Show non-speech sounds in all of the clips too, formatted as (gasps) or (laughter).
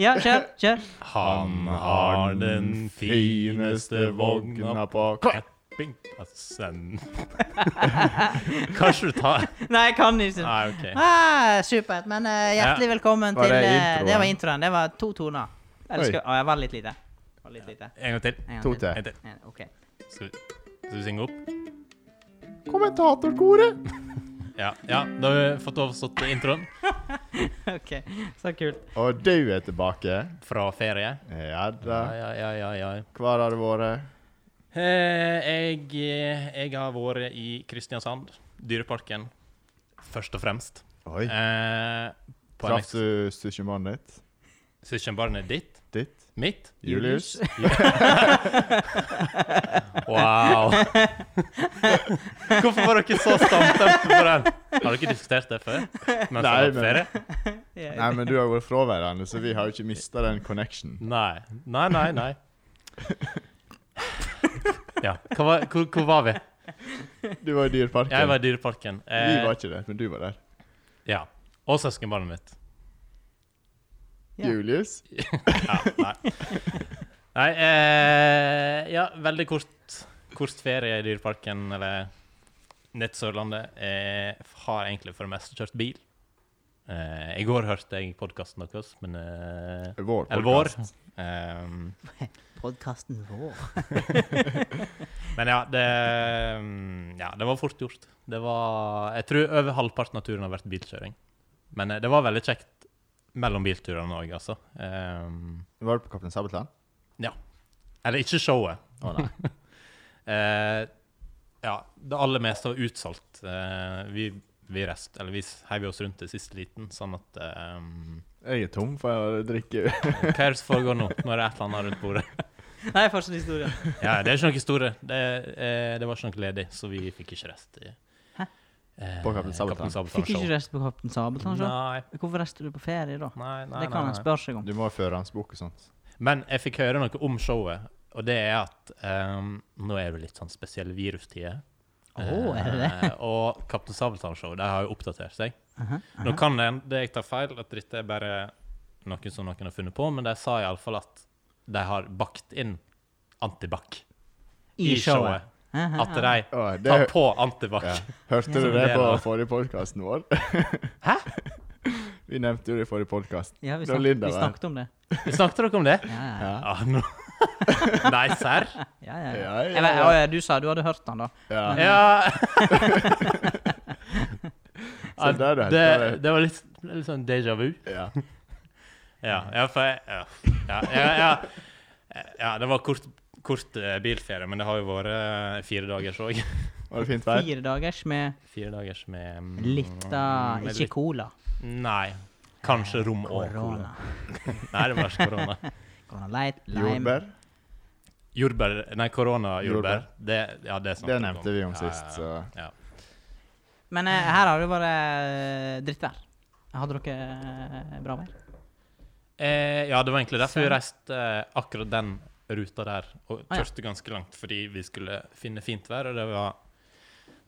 Ja, kjør, kjør. Han har den fineste vogna på campingplassen. (laughs) Kanskje du tar Nei, jeg kan ikke. Nei, OK. Ah, supert. Men eh, hjertelig velkommen Var til det eh, introen? Det var introen. Det var to toner. Eller Oi. skal Å, jeg var litt lite. Var litt lite. En gang til. En gang To til. til. En til. En- OK. (laughs) Skal vi, skal vi synge opp? Kommentatorkoret. Ja. ja. Da har vi fått overstått introen ok, Så kult. Og du er tilbake. fra ferie. Ja da. Ja, ja, ja, ja. ja. Hvor har du vært? Eh, Jeg, jeg har vært i Kristiansand, Dyreparken, først og fremst. Oi. Eh, på Traff en du sushimannen ditt? søskenbarnet ditt? Ditt? Mitt? Julius? (laughs) Wow! Hvorfor var dere så stamstemte på den? Har dere diskutert det før? Mens Nei, Nei, men- men... ferie? Ja. Nei, men du har vært fraværende, så vi har jo ikke mista den connection. Nei. Nei, nei, nei. Ja. Hva var, hvor, hvor var vi? Du var i Dyreparken. Jeg var eh, i Dyreparken. Eh, Vi var ikke det, men du var der. ja. Og søskenbarnet mitt. Ja. Julius? (laughs) Ja, nei. nei eh, ja, veldig kort, kort ferie i Dyreparken, eller nett Sørlandet. Eh, har egentlig for det meste kjørt bil. Eh, I går hørte jeg podkasten deres, men eh, Vår Eller vår. podcast. Ehm, Podkasten vår. men ja det, mm, ja, det var fort gjort. Det var Jeg tror over halvparten av turen har vært bilkjøring. Men eh, det var veldig kjekt mellom bilturene òg, altså. Ehm, Var du på Kaptein Sabeltann? eller ikke showet. Å nei. (laughs) Eh, ja, det aller meste var utsolgt. Eh, vi, vi rest, eller vi heiv oss rundt til siste liten, sånn at eh, Jeg er tom for å drikke. Hva er det som foregår nå? Nå er det et eller annet rundt (laughs) bordet. Nei, fortsatt historien. Ja, det er ikke noe historie. Det, eh, det var ikke noe ledig, så vi fikk ikke rest. I, Hæ? eh, På Kaptein Sabeltann. Fikk ikke rest på Kaptein Sabeltann? så? Nei, Hvorfor rester du på ferie, da? nei, nei, Det kan nei, en nei. spørre seg om. Du må ha førerhåndsbok og sånt. Men jeg fikk høre noe om showet, og det er at ehm, nå er det litt sånn spesielle virustider. Åh, er det (laughs) Eh, og Kaptein Sabeltann-show de har jo oppdatert seg. Aha, Nå kan det, det jeg tar feil, at dette er bare noe som noen har funnet på, men de sa iallfall at de har bakt inn antibac i showet. Aha, At de Å, det, tar på antibac. ja. Ja. Hørte du det på Ja. forrige podkasten vår? (laughs) Hæ? Vi nevnte jo det i forrige podkast. Ja, vi, Det var snak Linda, vi vel? snakket om det. (laughs) Snakket dere om det? Ja, ja, ja. Ja. Ja, nå. (laughs) Nei, serr? ja, ja, ja. Ja, ja, Eller, ja. å, ja, du sa du hadde hørt den, da. Ja. Ja. Så der er det. det, det var litt, litt sånn déjà vu. ja. Ja, ja, for jeg, ja, ja, ja, ja, ja, det var kort, kort eh, bilferie, men det har jo vært eh, fire dagers òg. Var det fint vær? Fire dagers med (laughs) Fire dagers med mm, litt av med Ikke litt- cola. Nei. Kanskje rom og cola. Korona. Nei, det var ikke (laughs) korona. Korona light, lime. Jordbær? Jordbær Nei, koronajordbær. Jordbær. Det, ja, det, snakket Det vi om. nevnte vi om Ja, sist, ja, så ja. Men eh, her har det vært eh, drittvær. Hadde dere eh, bra vær? Eh, ja, det var egentlig derfor vi reiste eh, akkurat den ruta der, og Ah, Sånn. ja. kjørte ganske langt fordi vi skulle finne fint vær, og det var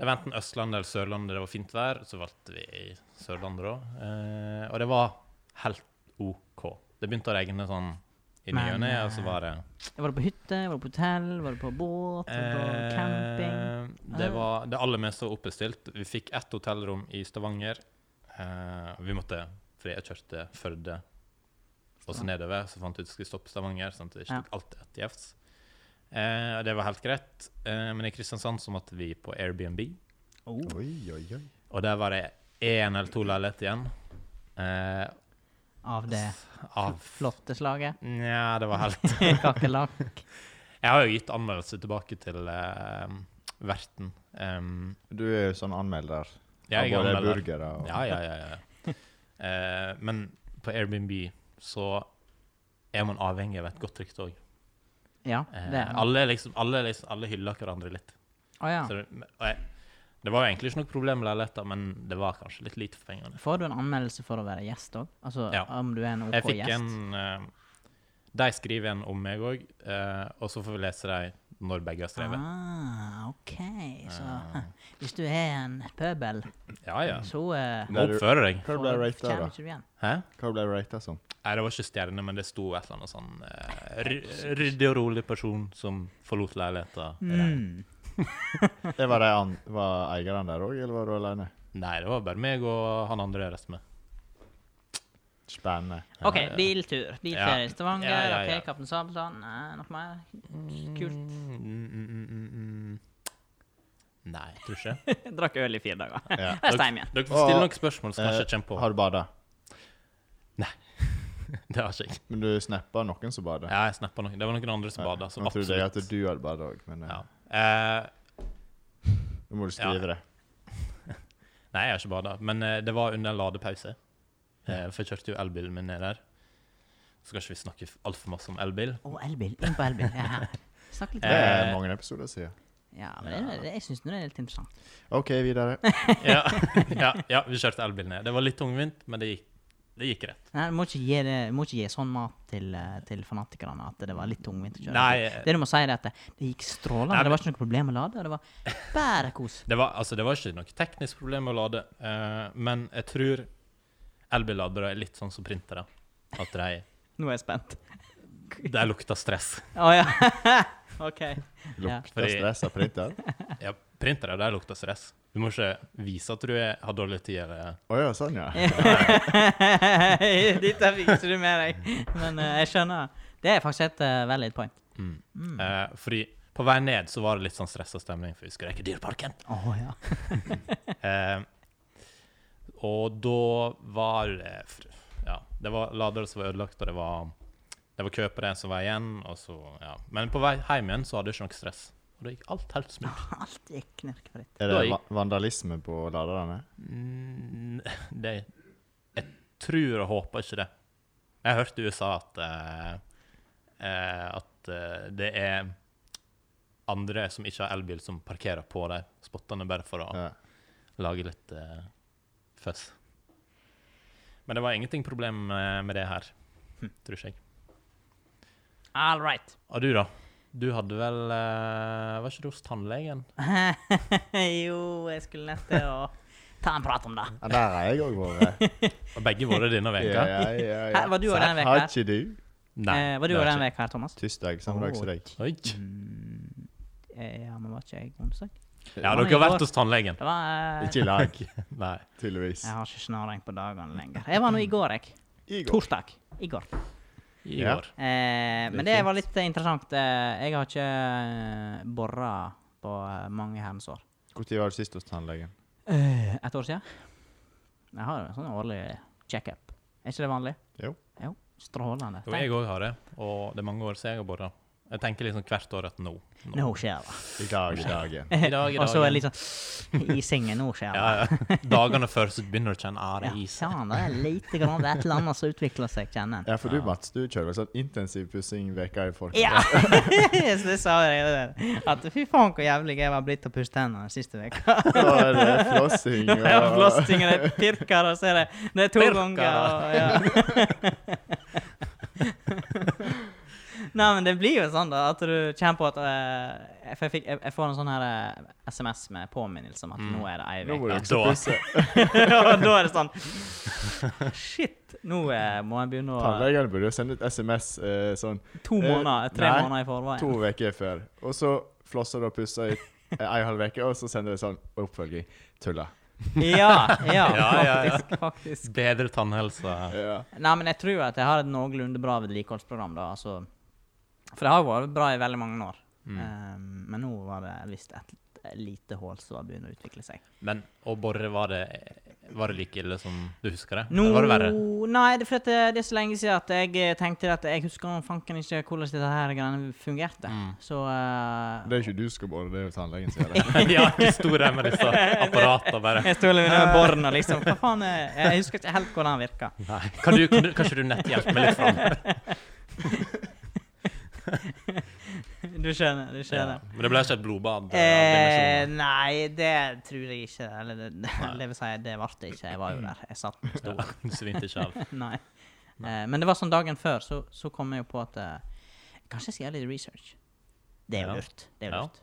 det var enten Østlandet eller Sørlandet det var fint vær, så valgte vi Sørlandet da. Eh, og det var helt OK. Det begynte å regne sånn i ny Men, og ne, og eh, så var det Var det på hytte? Var det på hotell? Var det på båt? Var det på camping? Ah. Eh, det var det aller meste var oppbestilt. Vi fikk ett hotellrom i Stavanger. Eh, vi måtte fordi jeg kjørte Førde og så nedover, så fant vi ut at vi skulle stoppe Stavanger. Sånn at det ikke Ja. tok alt ett jevns. Eh, og det var helt greit. Eh, men i Kristiansand så måtte vi på Airbnb, Oh. Oi, oi, oi. og der var det én eller to leiligheter igjen. Eh, Av det av flotte slaget. (laughs) Nja, det var helt Kakerlakk. Jeg har jo gitt anmeldelse tilbake til eh, verten. Um, Du er jo sånn anmelder. jeg er Av både anmelder. burgere og Ja, ja, ja. ja. (laughs) Eh, men på Airbnb så er man avhengig av et godt rykte òg. Ja, det Eh, er det. alle, liksom, alle, liksom, alle hyller hverandre litt. Å ja. Så det, og jeg, det var jo egentlig ikke noe problem med leiligheter, men det var kanskje litt lite for pengene. Får du en anmeldelse for å være gjest òg? Altså Ja. om du er en OK Jeg fikk gjest? en eh, De skriver en om meg òg, og eh, så får vi lese de når begge har strevet. Ah, OK. Så Eh, hvis du er en pøbel, ja, ja. så eh, Du må oppføre deg. Hva ble får- jeg ratet kommer da? ikke du igjen. Hæ? Hva ble jeg ratet som? Nei, det var ikke stjerne, men det sto et eller annet sånn eh, ry- ryddig og rolig person som forlot leiligheten. Mm. Jeg var, de an var eieren der òg, eller var du alene? Nei, det var bare meg og han andre jeg reiste med. Spennende. OK, Ja, ja. biltur. Biltur Ja. i Stavanger. Ja, ja, ja. OK, Kaptein Sabeltann. Nei, noe mer? Kult. Mm, mm, mm, mm, mm. Nei, jeg tror (laughs) ikke. Drakk øl i fire (laughs) dager. Ja. Reiste hjem igjen. Dere får stille noen spørsmål som kanskje Eh, kommer på. Har du bada? (laughs) Det har ikke jeg. Men du snappa noen som bada? Ja, jeg snappa noen. Det var noen andre som bada. Så Nå trodde jeg absolutt. at du hadde bada òg, men eh, Ja. Eh, nå må du skrive det. nei, jeg har ikke bada, men eh, det var under en ladepause. Eh, for jeg kjørte jo elbilen min ned der. Så skal ikke vi snakke altfor masse om elbil. Å, elbil. Inn på elbil. Ja. Snakk litt Det om det. er Eh. mange episoder siden. Ja, men det, det, jeg syns det er litt interessant. OK, videre. Ja, (laughs) ja, ja vi kjørte elbil ned. Det var litt tungvint, men det gikk, det gikk rett. Nei, du må ikke gi, det, du må ikke gi sånn mat til, eh, til fanatikerne at det var litt tungvint å kjøre. Nei, eh, Det du må si, er at det, det gikk strålende. Nei, det men- var ikke noe problem å lade. og Det var bare kos. Det var, altså, det var ikke noe teknisk problem å lade, eh, men jeg tror elbilladere er litt sånn som printere. At de, Nå er jeg spent. de lukter stress. Å ja. (laughs) OK. Ja. Lukter Fordi- stress av printer? Ja, printere de lukter stress. Du må ikke vise at du er, har dårlig tid. Eller. Å ja, sånn, ja. (laughs) Dette fikk ikke du med deg. Men eh, jeg skjønner. Det er faktisk et uh, veldig point. Mm. Mm. Eh, fordi på vei ned så var det litt sånn stressa stemning, for vi skulle rekke Dyreparken. Å ja. Eh, og da var det fr- Ja, det var ladere som var ødelagt, og det var, det var køpere som var igjen. Og så, ja. Men på vei hjem igjen så hadde jeg ikke noe stress. Og det gikk alt helt smooth. Alt gikk knirkefritt. Er Da det gikk- va vandalisme på laderne? Mm, det, jeg tror og håper ikke det. Jeg hørte i USA at eh, eh, at eh, det er andre som ikke har elbil, som parkerer på de spottene bare for å Ja. lage litt eh, føss. Men det var ingenting problem eh, med det her, Hm. tror ikke jeg. All right. Og du, da? Du hadde vel eh, Var ikke du hos tannlegen? (laughs) jo, jeg skulle nett til å ta en prat om det. Ja, der har jeg òg vært. Og begge våre (laughs) denne Ja, veka? ja, ja, ja. Hæ, var du og den veka Har her? ikke du? Nei. eh, var du det og var den ikke- veka her, Thomas? Tirsdag, samme dag som Å, deg. Oi. Mm, eh, ja, men var ikke jeg onsdag? Ja, men dere har i går- vært hos tannlegen. Det var eh, Ikke i lag, Nei. tydeligvis. Jeg har ikke snøring på dagene lenger. Jeg var nå i går, jeg. I går. Torsdag. I går. I Ja. går. Eh, Det er men det fint. var litt eh, interessant. Eh, jeg har ikke bora på eh, mange herrens år. Når var du sist hos tannlegen? Eh, Et år siden. Jeg har en sånn årlig checkup. Er ikke det vanlig? Jo. Jo, Strålende. Jo, jeg òg har det, og det er mange år siden jeg har båret. Jeg tenker liksom hvert år at nå. nå. Nå skjer det. I dag, i dagen. I dag, i (laughs) Og så er dagen. det litt sånn I sengen, nå skjer det. Ja, (laughs) ja. Dagene før så begynner du å kjenne ah, ære i Ja, seg. faen, det er lite grann det er et eller annet som utvikler seg, kjenner en. Ja, for du, Mats, du kjører vel sånn intensiv pussing veka i forkant. Ja! (laughs) Så det sa jeg det der. At fy faen, hvor jævlig jeg var blitt til å pusse tennene den siste uka. Da er det (laughs) flossing Det er og flossing, og det er pirker, og så er det, det er to Pirker. ganger. Og, ja. (laughs) Nei, men det blir jo sånn da, at du kjenner på at eh, For jeg, fikk, jeg, jeg får en sånn her eh, SMS med påminnelse om at Mm. nå er det ei Nå må uke. du Ja, ikke da. pusse. (laughs) og da er det sånn Shit! Nå eh, må jeg begynne å Tannlegene burde jo sende ut SMS eh, sånn To Eh, måneder, tre nei, måneder i forveien. to uker før. Og så flosser du og pusser i eh, ei halv uke, og så sender de sånn oppfølging. Tulla. Ja, ja, (laughs) Ja, ja, ja. faktisk. faktisk. Bedre tannhelse. Eh, Ja. Nei, men jeg tror at jeg har et noenlunde bra vedlikeholdsprogram, da. Altså. For det har jo vært bra i veldig mange år. Mm. Eh, men nå var det visst et lite hull som begynner å utvikle seg. Men å bore, var det, var det like ille som du husker det? Nå, Eller var det verre? nei, det, er for at det, det er så lenge siden at jeg eh, tenkte at jeg husker om fanken ikke hvordan dette her greiene fungerte. Mm. Så eh, Det er ikke du som skal bore, det er jo tannlegen som gjør det. (laughs) ja, du sto der med disse apparatene bare. jeg sto litt (laughs) under båren og liksom Hva faen er Jeg husker ikke helt hvordan den virka. Nei. Kan du, kan du, kanskje du netthjelpe meg litt fram? (laughs) Du skjønner. Du Ja. skjønner. Men det ble ikke et blodbad? Eh, Eh, nei, det tror jeg ikke. Eller det, det vil si, det ble det ikke. Jeg var jo der. Jeg satt med ja, stor. du svimte ikke av? (laughs) Nei. Eh, men det var sånn dagen før, så, så kom jeg jo på at eh, Kanskje jeg skal gjøre litt research. Det er Ja. jo lurt. Det er jo Ja. lurt.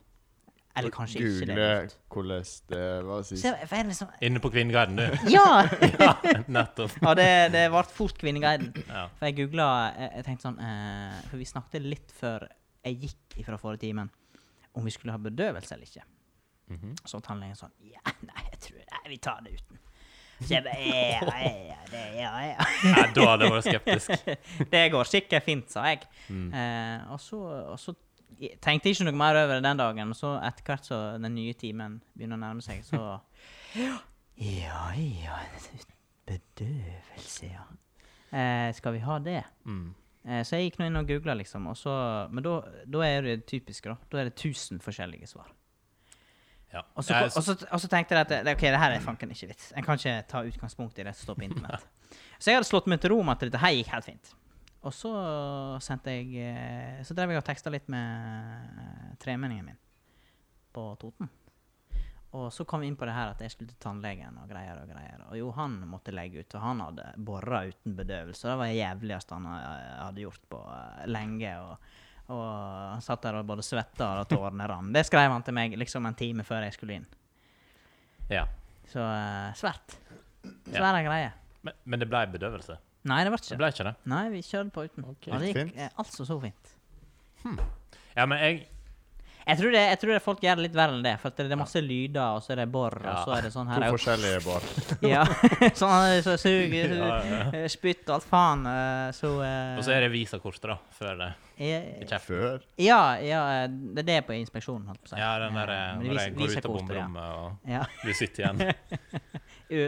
(laughs) Eller kanskje ikke det er lurt. Google hvordan det var sist. Se, for jeg er (laughs) liksom Inne på Kvinneguiden, du. Ja! (laughs) ja, nettopp. Og det, det ble fort Kvinneguiden. Ja. For jeg googla jeg, jeg tenkte sånn eh, For vi snakket litt før jeg gikk ifra forrige timen, om vi skulle ha bedøvelse eller ikke. Mhm. Så var tannlegen sånn Ja, nei, jeg tror Nei, vi tar det uten. Så jeg bare Ja, ja, ja, det, ja, ja. ja, da hadde jeg vært skeptisk. Det går sikkert fint, sa jeg. Eh, og, så, og så tenkte jeg ikke noe mer over det den dagen. Og så etter hvert så den nye timen begynner å nærme seg, så Ja, ja Bedøvelse, ja. Eh, skal vi ha det? Mm. Eh, så jeg gikk nå inn og googla, liksom. Og så, men da, da er det typisk, da. Da er det 1000 forskjellige svar. Ja. Og så, Jeg- og, så, og så tenkte jeg at det, ok, det her er fanken ikke vits. En kan ikke ta utgangspunkt i det som står på internett. Så jeg hadde slått meg til ro med at dette her gikk helt fint. Og så sendte jeg eh, Så drev jeg og teksta litt med eh, tremenningen min på Toten. Og så kom vi inn på det her at jeg skulle til tannlegen og greier og greier. Og jo, han måtte legge ut, og han hadde bora uten bedøvelse. Det var det jævligste han eh, hadde gjort på eh, lenge. og og han satt der og både svetta og tårene rann. Det skrev han til meg liksom en time før jeg skulle inn. ja. Så eh, svært. Ja. Svære greier. Men, men det ble bedøvelse? Nei, det ble Det ikke. ble ikke det? Nei, vi kjørte på uten. Ok. Og det gikk Fint. eh, altså så fint. Ja, men jeg Jeg tror, det, jeg tror det folk gjør det litt verre enn det, for at det er masse lyder, og så er det bor, Ja. og så er det sånn To her forskjellige bar. (laughs) Ja, (laughs) sånn så suger, ja, ja. eh, spytt og alt faen, eh, så Og så er det visakortet, da. Før det i kjeften. Før. Ja, ja, eh, det er det på inspeksjonen, holdt på å si. Ja, den der Eh, eh, men det når viser- jeg går ut viser av kortet, ja. bomberommet og Ja. du sitter (laughs) igjen.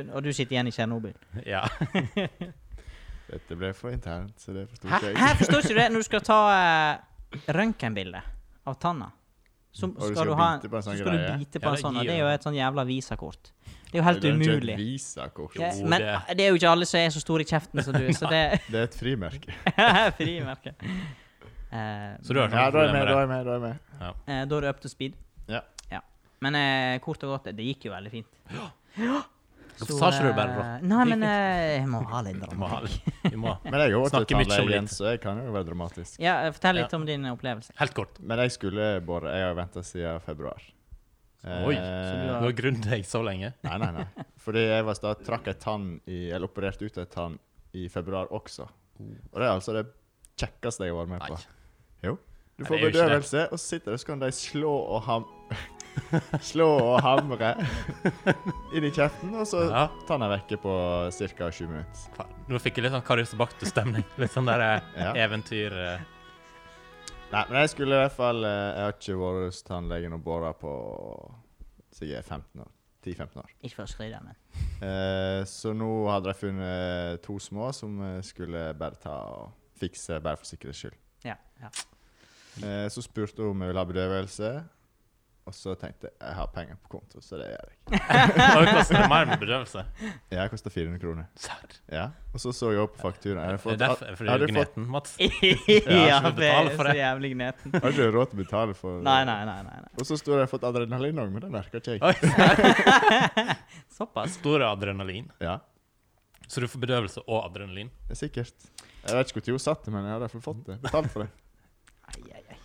U- Og du sitter igjen i Tsjernobyl. Ja. Dette ble for internt, så det forsto Hæ? ikke Her jeg. (laughs) forstår ikke du det? Når du skal ta uh, røntgenbilde av tanna, så Og du skal du, skal ha bite på en så sånn skal du greie. bite på Ja, en sånn, og gi det er jo det. et sånn jævla visakort. Det er jo helt Det er jo ikke umulig. et visakort. Ja, Jo, men eh, det- det er jo ikke alle som er så store i kjeften som du, så det (laughs) Det er et frimerke. er (laughs) frimerke. Eh, Så du har ikke Ja, noe da er problem jeg med, med da er det? jeg med. Da er jeg med. eh, da er du up to speed. Ja. Men eh, kort og godt, det gikk jo veldig fint. Hvorfor sa ikke du eh, bare bra? Nei, Det gikk men eh, jeg må (laughs) ha litt Vi må ha dramatikk. litt- vi må ha- Men jeg har vært Snakker mye om tannlegen, litt. så jeg kan jo være dramatisk. Ja, eh, fortell litt om din opplevelse. Helt kort. Men jeg skulle bore. Jeg har venta siden februar. Eh, Oi, så Du Ja. har grunnet deg så lenge. Nei, nei, nei. Fordi jeg var sta, trakk ei tann i Eller opererte ut ei tann i februar også. Og det er altså det kjekkeste jeg har vært med Nei. på. Jo. Du Nei, får det er jo ikke det. bedøvelse, og så sitter du, så kan de slå og ham... (laughs) slå og hamre inn i kjeften, og så Ja. tann er vekke på ca. 20 minutter. Faen, Eh, Nå fikk jeg litt sånn Karius og Baktus-stemning. (laughs) Litt sånn der eh, Ja. eventyr eh, Nei, men jeg skulle i hvert fall eh, Jeg har ikke vært hos tannlegen og bora på sikkert 15 år. 10-15 år. Ikke for å skryte, men Eh, så nå hadde de funnet to små som eh, skulle bare ta og fikse, bare for sikkerhets skyld. ja. ja. Eh, så spurte hun om jeg ville ha bedøvelse, og så tenkte jeg jeg har penger på konto, så det gjør jeg. Oi, koster det mer med bedøvelse? Ja, det kosta 400 kroner. Serr? Ja. Og så så jeg opp på fakturaen. Jeg hadde Det er fått- derfor er fordi du hadde er fått- gneten, Mats. ja, skal det betale er for så det. jævlig gneten. hadde ikke råd til å betale for Nei, nei, nei. nei, nei. Og så sto det jeg har fått adrenalin òg, men det merka ikke (laughs) jeg. Oi, serr? Såpass. Stor adrenalin. Ja, Så du får bedøvelse og adrenalin? det er sikkert. Jeg vet ikke når hun satt det, men jeg hadde i hvert fall fått det. Betalt for det. Ai, ai, ai.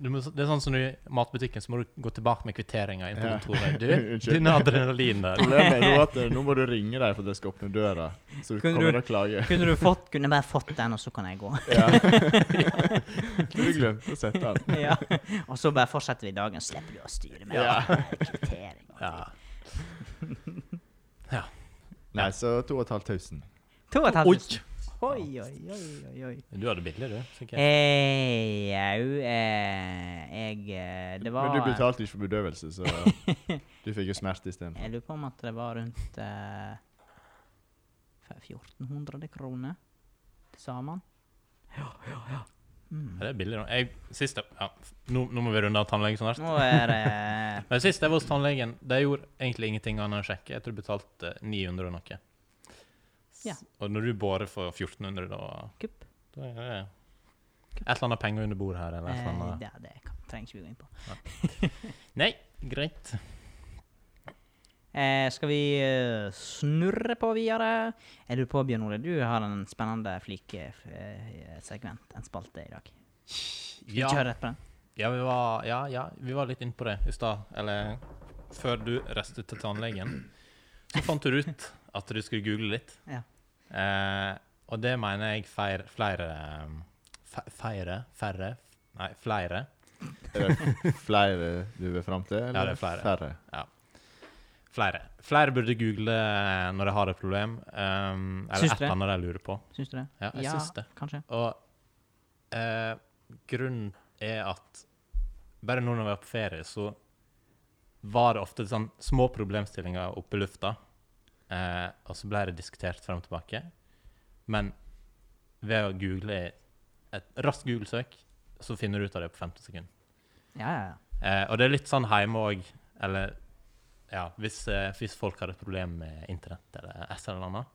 Du må, det er sånn som du i matbutikken, så må du gå tilbake med kvitteringa inn på Ja. (laughs) kontoret. Du, Unnskyld. din adrenalin der. (laughs) Problemet er nå at eh, nå må du ringe dem for at de skal åpne døra, så Kunne kommer du- de og klager. Kunne du fått, kunne jeg bare fått den, og så kan jeg gå. (laughs) Ja. (laughs) Du glemte å sette den. ja. Og så bare fortsetter vi dagen, slipper du å styre med Ja. kvittering. Ja. Nei, så 2500. To og et Oi! halvt tusen. Oi, oi, oi, oi, oi. Du hadde billig, du. sikkert. Eh, Jau, eh, jeg eh, Det var Men du betalte ikke for bedøvelse, så (laughs) du fikk jo smerte isteden. Jeg lurer på om at det var rundt eh, 1400 kroner til sammen. Mm. Ja, det er billig nå. Jeg, sist jeg, ja, nå, nå må vi runde av tannlegen snart. Nå er det Men sist jeg var hos tannlegen, de gjorde egentlig ingenting annet enn å sjekke. Jeg tror jeg betalte 900 og noe. S- Ja. Og når du bare får 1400, da, kupp. da er (laughs) det et eller annet penger under bordet her, eller et eller Eh, annet. det, det kan, trenger ikke vi gå inn på. Nei, greit. Eh, skal vi eh, snurre på videre? Jeg lurer på, Bjørn Ole, du har en eh, spennende flikesegment, en spalte, i dag. Skal vi Ja. kjøre rett på den? Ja, vi var, ja, ja, vi var litt inne på det i stad. Eller før du reiste til tannlegen, så fant du ut at du skulle google litt. Ja. Eh, og det mener jeg feir, flere um, fe- Feire? Færre? Nei, flere. Er det flere du vil fram til? eller Ja, det er flere. Færre? Flere Flere burde google eh, når de har et problem, um, eller Syns et du det? eller annet de lurer på. Syns du det? Ja, jeg syns det. Kanskje. Og eh, grunnen er at bare nå når vi var på ferie, så var det ofte sånn små problemstillinger oppe i lufta. Eh, og så ble det diskutert frem og tilbake. Men ved å google et raskt Google-søk, så finner du ut av det på 50 sekunder. Ja, ja, ja. Eh, og det er litt sånn hjemme òg, eller ja, hvis, eh, hvis folk har et problem med internett eller et eller annet,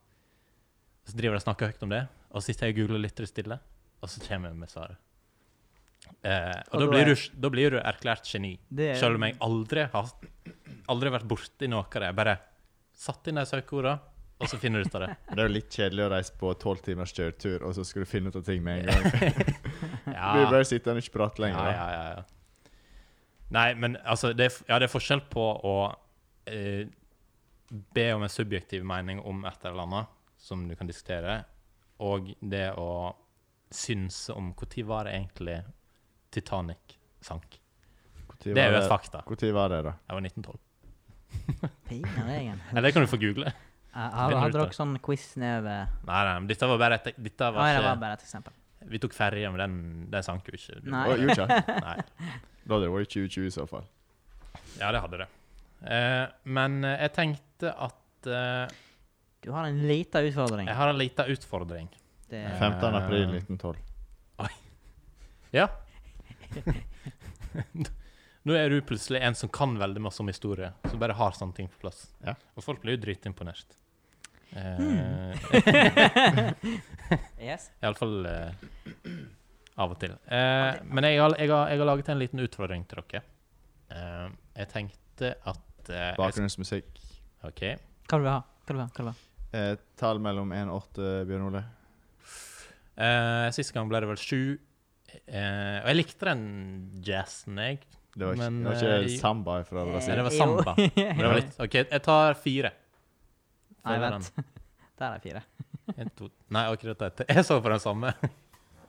så driver de og snakker høyt om det, og så sitter jeg og googler litt stille, og så kommer jeg med svaret. Eh, og, Og da, da er- blir du, da blir du erklært geni, Det er- selv om jeg aldri har aldri vært borti noe av det. Jeg bare satt inn de søkeordene, og så finner du ut av det. Men Det er jo litt kjedelig å reise på tolv timers kjøretur, og så skal du finne ut av ting (laughs) med en gang. Ja. Du bare sitter og ikke prater lenger. da. Ja, ja, ja, ja. Nei, men altså det er, f- ja, det er forskjell på å eh, be om en subjektiv mening om et eller annet som du kan diskutere, og det å synse om når var det egentlig Titanic sank. Hvor tid Det er var jo et fakta. Når var det, da? Jeg var 1912. (laughs) Pinadegen. Eller det kan du få google. Hadde Finner du ut dere det? sånn quiz nedover Nei, nei, men dette var bare et dette Ja, var det var ikke, bare et eksempel. Vi tok ferje, men den, den sank jo ikke. Du- Nei. Å, gjorde ikke jeg? nei. Da hadde det vært 2020 i så fall. Ja, det hadde det. Eh, men eh, jeg tenkte at eh, Du har en liten utfordring. Jeg har en liten utfordring. Det, Ja. 15. april 1912. Ja. (laughs) Nå er du plutselig en som kan veldig masse om historie, som bare har sånne ting på plass. Ja. Og folk blir jo dritimponert. Eh, (laughs) (laughs) yes. Iallfall eh, av og til. Eh, men jeg har, jeg, har, jeg har laget en liten utfordring til dere. Eh, jeg tenkte at eh, jeg, Bakgrunnsmusikk. OK. Hva vil du ha? Hva vil du ha? Hva vil du ha? Eh, tall mellom 1 og 8, Bjørn Ole. Eh, Sist gang ble det vel sju. Eh, og jeg likte den jazzen, jeg. Det var ikke, Men, det var eh, ikke samba fra Nei, Brasil. det var Eh, Jo. samba. Men (laughs) det var litt, OK, jeg tar fire. Nei, Følger den. vent. (laughs) Der er fire. En, to. Nei, akkurat dette. Jeg så på den samme.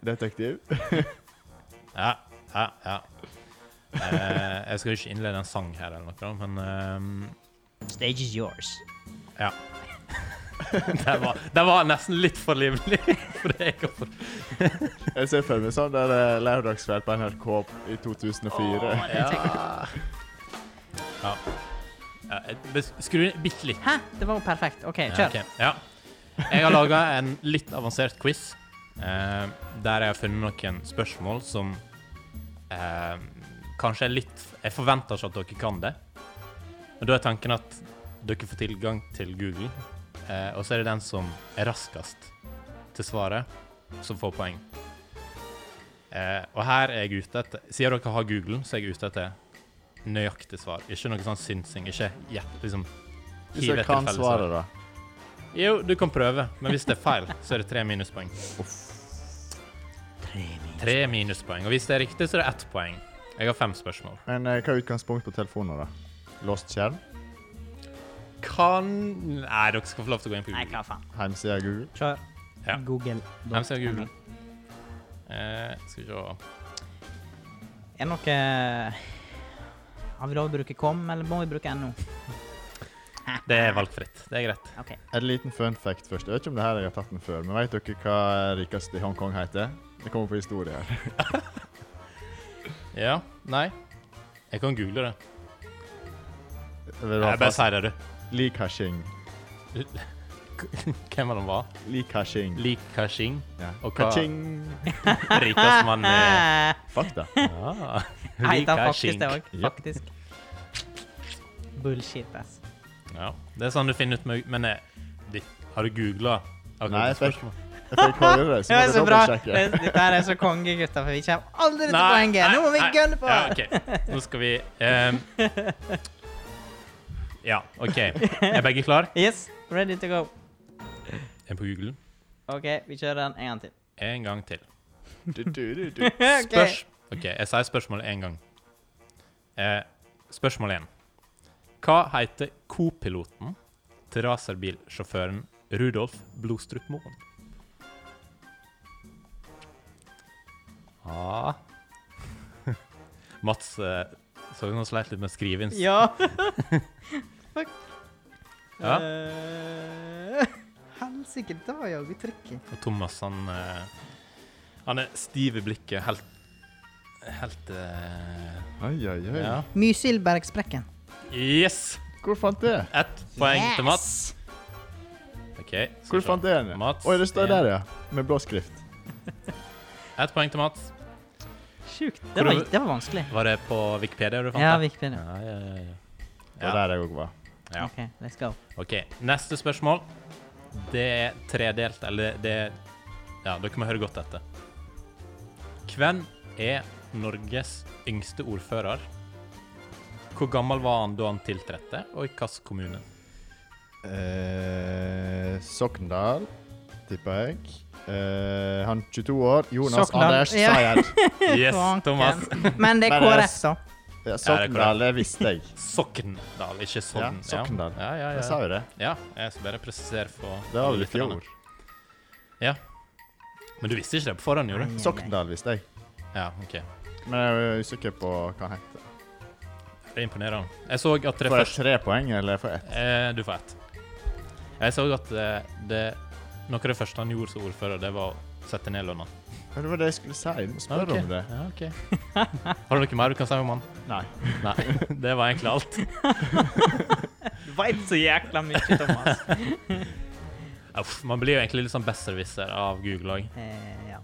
Detektiv. Ja, ja, ja. Eh, jeg skal jo ikke innlede en sang her, eller noe, men ehm, Stage is yours. ja. Det var, det var nesten litt for livlig. (laughs) For det gikk opp. Jeg ser for meg sånn der eh, lørdagskveld på NRK i 2004. Ja. Ja. Ja, jeg- bes- skru ned bitte litt. Hæ? Det var jo perfekt. OK, Ja, kjør. ok. Ja. Jeg har laga en litt avansert quiz eh, der jeg har funnet noen spørsmål som eh, kanskje er litt Jeg forventer ikke at dere kan det. Og da er tanken at dere får tilgang til Google, eh, og så er det den som er raskest til svaret, som får poeng. Eh, og her er jeg ute etter Siden dere har Google, så er jeg ute etter nøyaktig svar. Ikke noe sånn synsing. Ikke ja, liksom Hvis hiv jeg etter kan felles svar. svaret, da. Jo, du kan prøve, men hvis det er feil, så er det tre minuspoeng. Tre minuspoeng. Og hvis det er riktig, så er det ett poeng. Jeg har fem spørsmål. Men eh, hva er utgangspunkt på telefoner, da? Låst skjerm? Kan Nei, dere skal få lov til å gå inn på Nei, Google. hva faen. Heimsida Google? Kjør. Ja. Google. Hvem ser Google? Eh, skal vi se Er det noe Har vi lov å bruke kom, eller må vi bruke NO? Det er valgfritt. Det er greit. OK. En liten fun fact først. Jeg vet ikke om det her jeg har tatt den før, men vet dere hva rikeste i Hongkong heter? Det kommer på historie her. Ja. Nei. Jeg kan google det. Vil du ha Jeg bare fast? sier det, (laughs) du. Li Ka-shing. Hvem av dem var? Li Ka-shing. Li Ka-shing. (laughs) Ja. Og hva- Ka-ching! Rikest mann Ah. i Fakta. ja. Li Heter han faktisk Ka-shing. Eh, det òg. Japp. Faktisk. Bullshit, ass. Ja. Det er sånn du finner ut med Men eh, ditt- har du googla? Nei, jeg fikk- Jeg fikk høre det, så Det må er jeg så bra. dobbeltsjekke. Det- Dette her er så konge, gutter, for vi kommer aldri til Nei, poenget. Nå må vi nei, gønne på! Ja, ok. Nå skal vi ehm, Ja, OK. Er begge klar? Yes, ready to go. En på Google. OK, vi kjører den en gang til. En gang til. Du, du, du, du. (laughs) Ok. Spørs, OK, jeg sier spørsmålet én gang. Eh, spørsmål én. Hva heter co-piloten til racerbilsjåføren Rudolf Blodstrup Moen? Ah. (laughs) Mats eh, så ut som han sleit litt med å skrive inn. Ja. Fuck. Ja. Eh, Helsike, det var jaggu tricky. Og Thomas, han eh, Han er stiv i blikket, helt Helt eh, Oi, oi, oi. Ja. Mysilbergsprekken. Yes! Hvor fant det? Ett poeng til Mats. OK. skal Hvor vi se. fant det henne? Mats, Oi, det står ja. der, ja. Med blå skrift. Ett poeng til Mats. Sjukt. Det var, Hvor- det var vanskelig. Var det på Wikipedia du fant Ja, det? Wikipedia. Ja, ja, ja, ja. Det var Ja, der jeg òg var. ja. OK, let's go. OK. Neste spørsmål. Det er tredelt, eller det er Ja, dere må høre godt etter. Hvem er Norges yngste ordfører? Hvor gammel var han da han tiltrådte, og i hvilken kommune? Eh, Sokndal, tipper jeg. Eh, han 22 år. Jonas Sokndal, Anders ja. (laughs) Sayed. Yes, Fanken. Thomas. (laughs) Men det er Men det er KrF, s- da. Ja, Sokndal, det visste jeg. Sokndal, ikke Sogn. Ja, Sokndal. Ja, ja, Jeg ja. sa jo det. ja jeg skal bare presisere for Det var vel i lytterne. fjor. Ja. Men du visste ikke det på forhånd, Mm. gjorde du? Sokndal visste jeg. Ja, OK. Men jeg er usikker på hva han heter. Det er imponerende. Jeg så at det Får jeg første tre poeng, eller får jeg ett? eh, Du får ett. Jeg så at eh, det Noe av det første han gjorde som ordfører, det var å sette ned lønna. Men Det var det jeg skulle si. Du må Ja, spørre ok. om det. Ja, ok. (laughs) Har du noe mer du kan si om han? Nei. Nei. (laughs) Det var egentlig alt. Du veit så jækla mye, Thomas. Uff, man blir jo egentlig litt sånn besserwisser av Google òg. (laughs) eh, ja.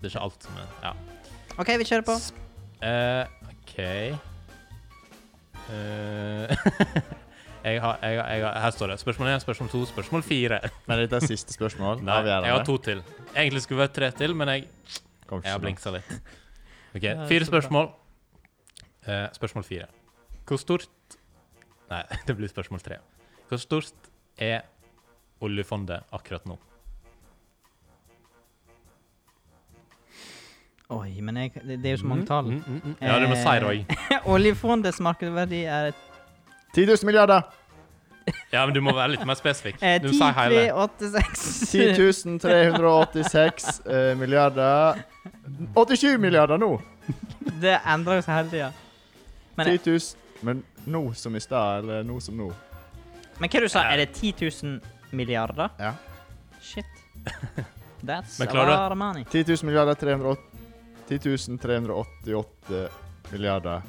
Det er ikke alt som er Ja. OK, vi kjører på. Eh, OK Eh, (laughs) jeg har, jeg har, jeg har, Her står det. Spørsmål 1, spørsmål 2, spørsmål 4. Men dette er siste spørsmål. Nei, jeg har Avgjørende. to til. Egentlig skulle det vært tre til, men jeg, Kom jeg har ikke blingsa litt. OK, Ja, det fire er så bra. spørsmål. Eh, spørsmål fire. Hvor stort Nei, (laughs) det blir spørsmål tre. Hvor stort er oljefondet akkurat nå? Mm-hmm. Oi, men jeg, det, det er jo så mange tall. (laughs) Eh. Mm, mm, mm. Ja, du må si det òg. Oljefondets markedsverdi er 10 000 (laughs) milliarder! Ja, men du må være litt mer spesifikk. eh, Du må si hele. (laughs) 10,386 10 386 eh, milliarder 87 milliarder nå! Det endrer jo seg hele tida. Men- 10 000 Men nå som i stad, eller nå som nå? Men hva du sa Er det 10 000 milliarder? Ja. (laughs) Shit. That's a Men klarer du- lot of money. 10 000 milliarder 308 10 388 (laughs) milliarder.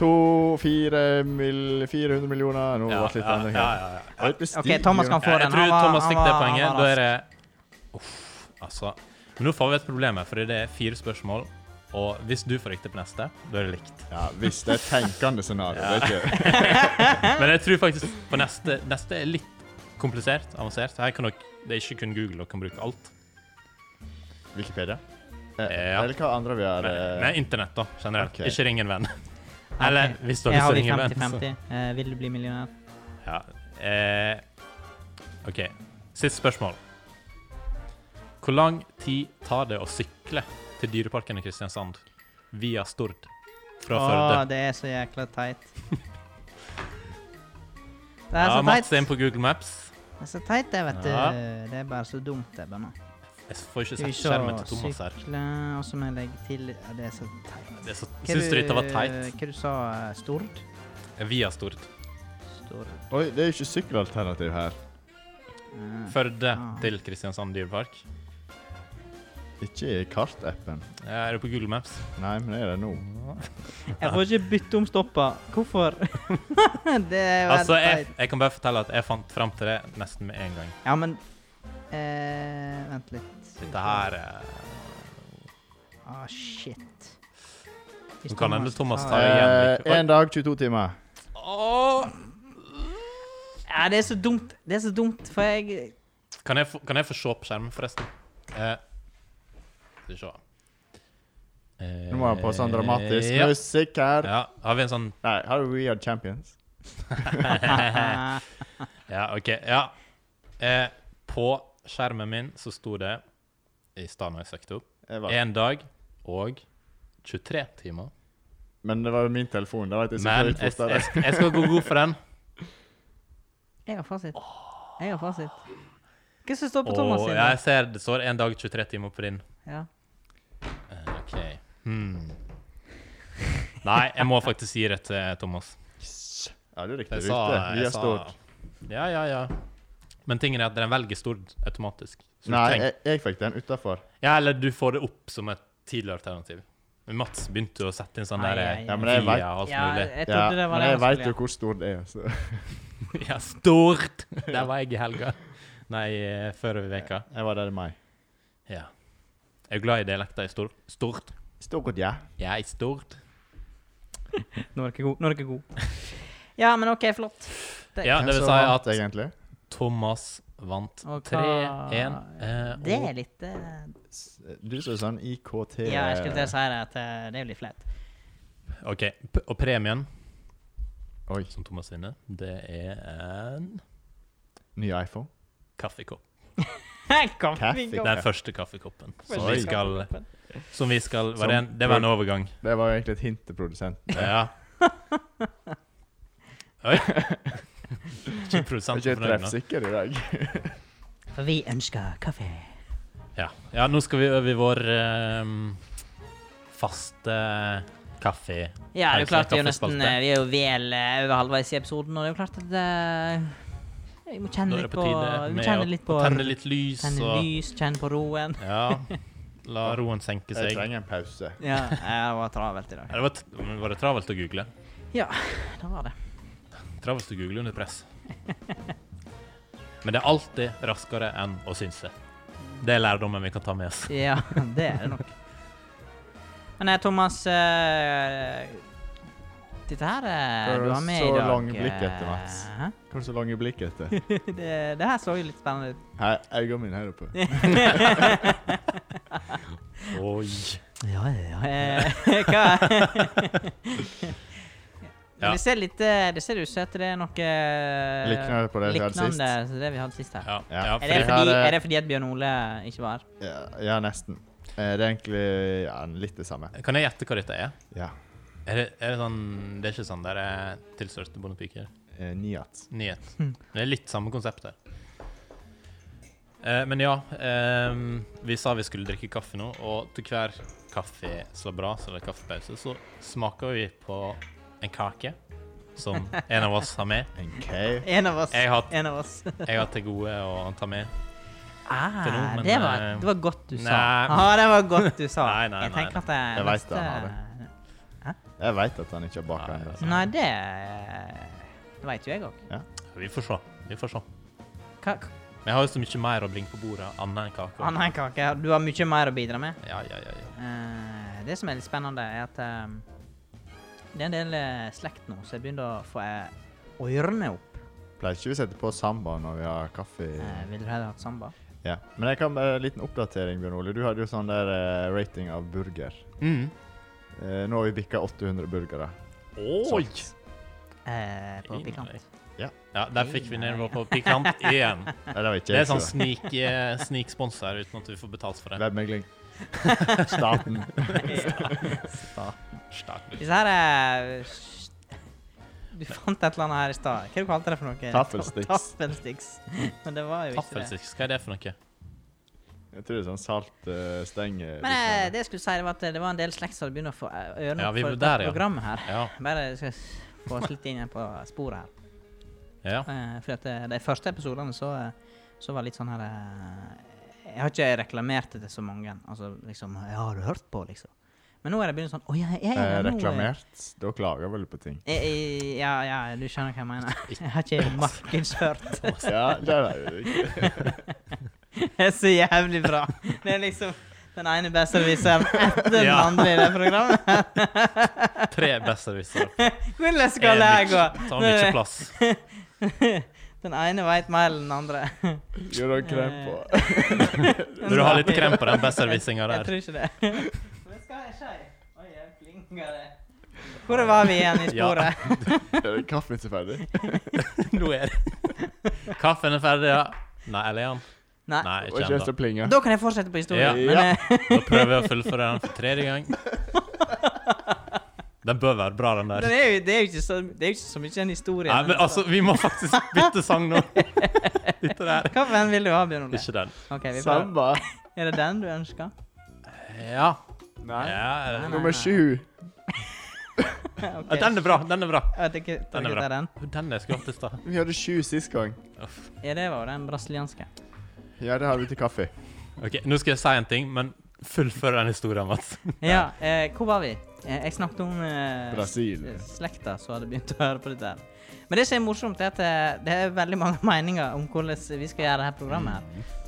To, fire mil, 400 millioner Nå ble Ja, det litt ja, endring ja, her. ja, ja. Og det OK, stiger Thomas jo. kan få Ja, jeg den. tror var- Thomas fikk det var- han poenget. var Da er det Uff, altså. Men nå får vi et problem her, fordi det er fire spørsmål. Og hvis du får riktig på neste, da er det likt. Ja, Hvis det er et tenkende scenario. det er ikke- Men jeg tror faktisk på neste Neste er litt komplisert, avansert. Her kan dere Det er ikke kun Google dere kan bruke alt. Wikipedia? Eh, Ja. Eller hva andre vi har Nei, eh, nei internett, da, generelt. ok. Ikke ring en venn. rask. Eller Ok. hvis Jeg dere har skal vi ringe en venn. Så. 50-50. Eh, vil du bli millionær? Ja. Eh, OK. Siste spørsmål. Hvor lang tid tar det å sykle til Dyreparken i Kristiansand via Stord fra Ah, Førde? Å, det er så jækla (laughs) teit. Det er Ja, så Mats er teit. inne på Google Maps. Det er så teit, det, vet du. Ja. Det er bare så dumt, det. Bare. Jeg får ikke Skal vi sett se skjermen til Thomas her. Sykle, og så må jeg legge til ja, Det er så teit. Det er så, Hva syns du dette var teit? Hva du sa eh, Stord? Via Stord. Stord. Oi, det er jo ikke sykkelalternativ her. eh. Førde Ah. til Kristiansand dyrepark. Ikke i kartappen. Ja, Er du på Google Maps? Nei, men er det nå? Jeg får ikke bytte om stopper. Hvorfor? (laughs) det er veldig Altså, jeg, teit. jeg kan bare fortelle at jeg fant fram til det nesten med en gang. Ja, men eh, Vent litt. Dette her eh, Ah, shit. Nå kan hende Thomas tar tar- igjen. Eh, en dag, 22 timer. Åh! Ja, det er så dumt. Det er så dumt, for jeg Kan jeg, få- kan jeg få se på skjermen, forresten? Eh, Skal vi se Eh, Nå må jeg på sånn dramatisk Ja. musikk her. ja. Har vi en sånn Nei, har du We Are Champions? Ah, Ja, OK. Ja. Eh, på skjermen min så sto det i stad når jeg søkte opp Jeg var En dag og 23 timer. Men det var jo min telefon. Da vet jeg Men sikkert jeg, litt jeg, fortere. jeg skal gå god for den. Jeg har fasit. Jeg har fasit. Hva som står på Thomas Og sin? jeg ser det står en dag 23 timer på din. Ja. Eh, OK. Hmm. Nei, jeg må faktisk si det til Thomas. Ja, du eh. likte Jeg det sa, riktig. jeg Via sa- Stord. Ja, ja, ja. Men tingen er at den velger Stord automatisk. Så du Nei, trenger- jeg, jeg fikk den utafor. Ja, eller du får det opp som et tidligere alternativ. Men Mats begynte å sette inn sånn Ai, der ai, ai. Ja, men jeg via vet- og alt ja, mulig. jeg Ja, trodde det var men jeg det han veit jo skulle hvor stor det er. Så. (laughs) Ja, Stord! Der var jeg i helga. Nei, eh, før i veka. Jeg var der i mai. Ja. Jeg er glad i dialekter i Stord. Stord. Stord, ja. Jeg er i Stord. gjøre. Nå er dere god. Nå er dere god. (laughs) Ja, men OK, flott. Det- Ja, Hvem det vil som si vant, at egentlig? Thomas vant Og hva- 3-1. eh, Det er og- litt eh, Du som er sånn IKT Ja, jeg skulle til å si det, at eh, det er jo litt flaut. (laughs) OK. P og premien Oi, som Thomas vinner, det er en eh, ny iPhone? kaffekopp. Kom, vi Kaffe. går. Den første kaffekoppen som Oi. vi skal, som vi skal var det, en, Som- det var en overgang. Det var jo egentlig et hint til produsenten. Ja. (laughs) Oi. Ikke Jeg er produsenten ikke fornøyd nå. treffsikker i dag. For vi ønsker kaffe. Ja. ja, nå skal vi over i vår ehm, faste kaffe. Ja, det er jo klart, vi er jo Kaffespalte. nesten eh, Vi er jo vel eh, over halvveis i episoden, og det er jo klart at eh, Vi må Nå kjenne er litt det på, på tide vi med kjenner å- å litt på tenne litt lys Tenne og lys, kjenne på roen. Ja. La roen senke (laughs) Jeg seg. trenger en pause. (laughs) Ja, eh, det var travelt i dag. Ja, det var, t men var det travelt å google? Ja, det var det. Travelt å google under press. Men det er alltid raskere enn å synes det. Det er lærdommen vi kan ta med oss. (laughs) Ja, det er det nok. Men eh, Thomas eh, Dette her eh, Hva er du det har med i så dag lang eh, blikk etter, Mats? hæ? (laughs) Hva er det så lange blikk (laughs) etter? det, det her så jo litt spennende ut. Hei, øynene mine her oppe. (laughs) Oi. Ja, ja, ja. Eh, (laughs) Hva Men Det ser litt eh, Det ser ut som at det er noe eh, Liknende på det vi hadde sist. liknande som det vi hadde sist her. Ja, Ja. ja, Er, fordi, det det her fordi, er- er det fordi at Bjørn Ole ikke var her? Ja, ja nesten. Eh, Det er egentlig ja, litt det samme. kan jeg gjette hva dette er? Ja. Er det, er det sånn Det er ikke sånn der eh, tilstørste bondepiker. Eh, Niat. Nyhet. Det er litt samme konsept her. Eh, men ja, ehm, vi sa vi skulle drikke kaffe nå, og til hver kaffe slår bra, så eller kaffepause, så smaker vi på en kake som en av oss har med. En K. En av oss. Jeg har, En av oss. jeg har til gode å ta med. til nå, (laughs) Ah, men, det, var, eh, det var godt du sa. nei. Ah, det var godt du sa. (laughs) Nei, nei, jeg nei, tenker at det Jeg vet det, han neste- Jeg veit at han ikke har altså. Nei, baka ennå. det- Nei, det eh, Det veit jo jeg òg. Vi får se. Vi får se. Hva Men jeg har jo så mye mer å bringe på bordet annet enn kake. Anna en kake. Du har mye mer å bidra med. Ja, ja, ja, ja. Eh, det som er litt spennende, er at eh, det er en del eh, slekt nå som begynner å få eh, ørene opp. Pleier ikke vi å sette på samba når vi har kaffe? i- Eh, ville du heller hatt samba? Ja. Men jeg kan bare en liten oppdatering, Bjørn Ole. Du hadde jo sånn der eh, rating av burger. Mm. Eh, nå har vi bikka 800 burgere. Oi! Eh, på pikant. (laughs) Ja, der fikk vi ned på pikant (laughs) igjen. Nei, det var ikke Det er jeg sånn som- snik, eh, snikspons her uten at vi får betalt for det. (laughs) Webmegling. Staten. Stakkars. Disse her er eh, Du fant et eller annet her i stad. Hva du kalte du det for noe? Taffelsticks. Taffelsticks. Men det var jo ikke det. Taffelsticks, hva er det for noe? Jeg tror det er sånn salt eh, stenger. Men eh, det jeg skulle si, det var at det var en del slekt som hadde begynt å få eh, ørene Ja, opp vi for var der, dette ja. programmet her. Ja. Bare skal jeg s- få oss litt inn igjen på sporet her. ja. Eh, fordi at eh, de første episodene så, eh, så var litt sånn her eh, Jeg har ikke reklamert det til så mange. Altså liksom Jeg har du hørt på, liksom. Men nå er det begynt sånn Å ja, jeg Eh, er reklamert. Da klager jeg vel på (laughs) ting. Jeg, jeg, ja, ja, du skjønner hva jeg mener. Jeg har ikke markedsført. (laughs) Ja, det er det ikke. Det er så jævlig bra. Det er liksom den ene besserwisseren etter den Ja. andre i det programmet. (laughs) Tre besserwisser. Hvordan skal det her gå? Tar mye plass. (laughs) Den ene veit mer enn den andre. Gjør du krem på? Eh. (laughs) Bør du ha litt krem på den besserwissinga Jeg der? tror (laughs) ikke det. Hva skal jeg si? Oi, jeg flinker det. Hvor var vi igjen i (laughs) sporet? Er det kaffen ikke ferdig? Nå er det Kaffen er ferdig, ja. Nei, eller er han? Nei. Nei, Og ikke ikke ennå. så plinga. Da kan jeg fortsette på historien. Ja. Men, eh, Da prøver jeg å fullføre den for tredje gang. Den bør være bra, den der. Det er, jo, det, er jo ikke så, det er jo ikke så mye en historie. Nei, men altså, vi må faktisk bytte sang nå. Dette der. Hva for en vil du ha, Bjørn Ole? Ikke den. Ok, vi prøver. Samba. Er det den du ønsker? (laughs) Ja. Nei. ja. Nei, nei. Nummer sju. Ok. Ja, Den er bra. Den er bra. Jeg vet ikke, tror Den er ikke det bra. er den. Den er skrottet da. Vi hadde sju sist gang. Uff. Ja, det var den (laughs) brasilianske. Ja, det har vi til kaffe. Ok, nå skal jeg si en ting, men fullfør den historien, Mats. Ja, eh, hvor var vi? Eh, jeg snakket om eh, Brasil. s- slekta som hadde begynt å høre på dette. her. Men det som er morsomt, er at eh, det er veldig mange (laughs) meninger om hvordan vi skal gjøre det her programmet. her.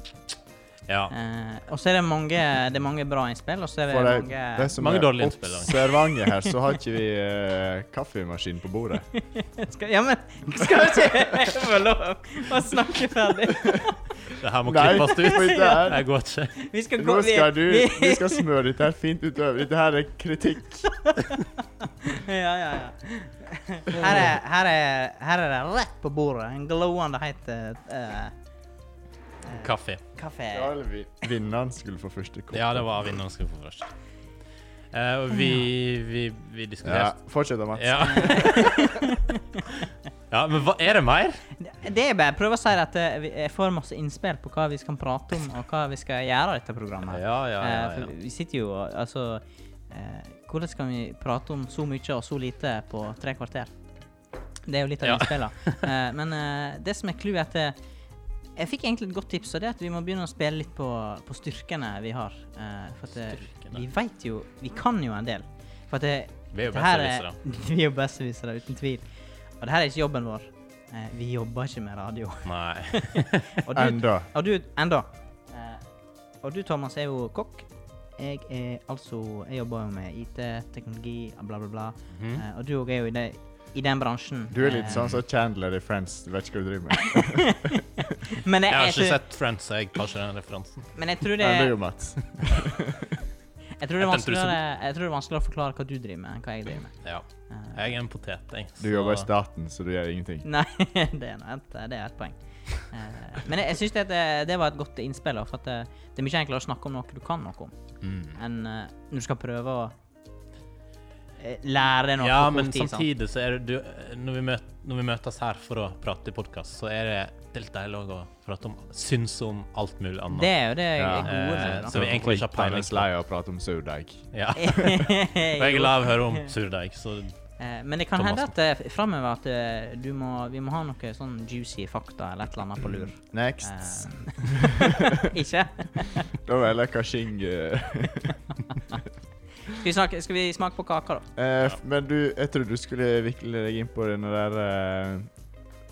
Ja. Eh, og så er det mange, det er mange bra innspill, og så er det For det, mange det som Mange er dårlige innspill, da. observante her, så har ikke vi eh, kaffemaskin på bordet. (laughs) skal, Ja, men skal ikke (laughs) jeg få lov å snakke ferdig? Det her må Nei, klippes for ut. det her- Jeg går ikke. Vi skal Nå gå skal du vi, (laughs) vi skal smøre dette her fint utover. Dette her er kritikk. Ja, ja, ja. Her er, her er, her er det rett på bordet. En glowende heit eh, eh, Kaffe. kaffe. Ja, eller vi- Vinneren skulle få første kopp. Ja, det var vinneren som skulle få først. Eh, og vi, vi, vi Ja, diskuterte. fortsett, da, Mats. Ja. (laughs) ja, men hva er det mer? Det er bare prøve å si at eh, vi- jeg får masse innspill på hva vi skal prate om, og hva vi skal gjøre i dette Ja, programmet. ja, ja. Eh, ja, for vi sitter jo og Altså eh, Hvordan kan vi prate om så mye og så lite på tre kvarter? Det er jo litt av Ja. (laughs) innspillene. Eh, men eh, det som er clouet, er at eh, jeg fikk egentlig et godt tips, og det er at vi må begynne å spille litt på, på styrkene vi har. Eh, for at eh, Styrkene. vi veit jo Vi kan jo en del. For at det, Vi er jo det her besserwissere. (laughs) Vi er jo besserwissere, uten tvil. Og det her er ikke jobben vår. Eh, vi jobber ikke med radio. (laughs) Nei. Og du, Enda. og du, enda. Eh, og du, Thomas, er jo kokk. Jeg er altså Jeg jobber jo med IT, teknologi, bla, bla, bla. Mhm. Eh, og du òg er jo i, det, i den bransjen. Du er litt Eh, sånn som Chandler i Friends. Du vet ikke hva du driver (laughs) med. men jeg, Jeg har jeg, ikke tror- sett Friends, så jeg tar ikke den referansen. men jeg tror det Men det er jo Mats. Jeg tror det er Jeg tenkte du vanskeligere Jeg tror det er vanskeligere å forklare hva du driver med, enn hva jeg driver med. Ja. Eh, Jeg er en potet, jeg. Du så- jobber i staten, så du gjør ingenting. Nei, (laughs) det er noe annet. Det er et poeng. Eh, men jeg, jeg syns det, det, det var et godt innspill, da, for at det, det er mye enklere å snakke om noe du kan noe om, Mm. enn eh, når du skal prøve å eh, lære deg noe Ja, på kort men tid, sant? samtidig så er det du, når, vi møt, når vi møtes her for å prate i podkast, så er det litt deilig også å prate om Syns om alt mulig Det annet. er jo det jeg Ja. er gode med. Eh, (laughs) da. så vi egentlig ikke har peiling Thomas på. Leia prater om surdeig. Ja. (laughs) Og jeg er glad i å høre (laughs) om surdeig, så Eh, Men det kan Thomas. hende at uh, framover at eh, du må, vi må ha noe sånn juicy fakta eller et eller annet på lur. Mm. Next. Eh, (laughs) ikke? Da var jeg lekka Shing. eh. Skal vi, snakke, skal vi smake på kaka, da? Eh, f- Men du, jeg trodde du skulle vikle deg inn på den der eh,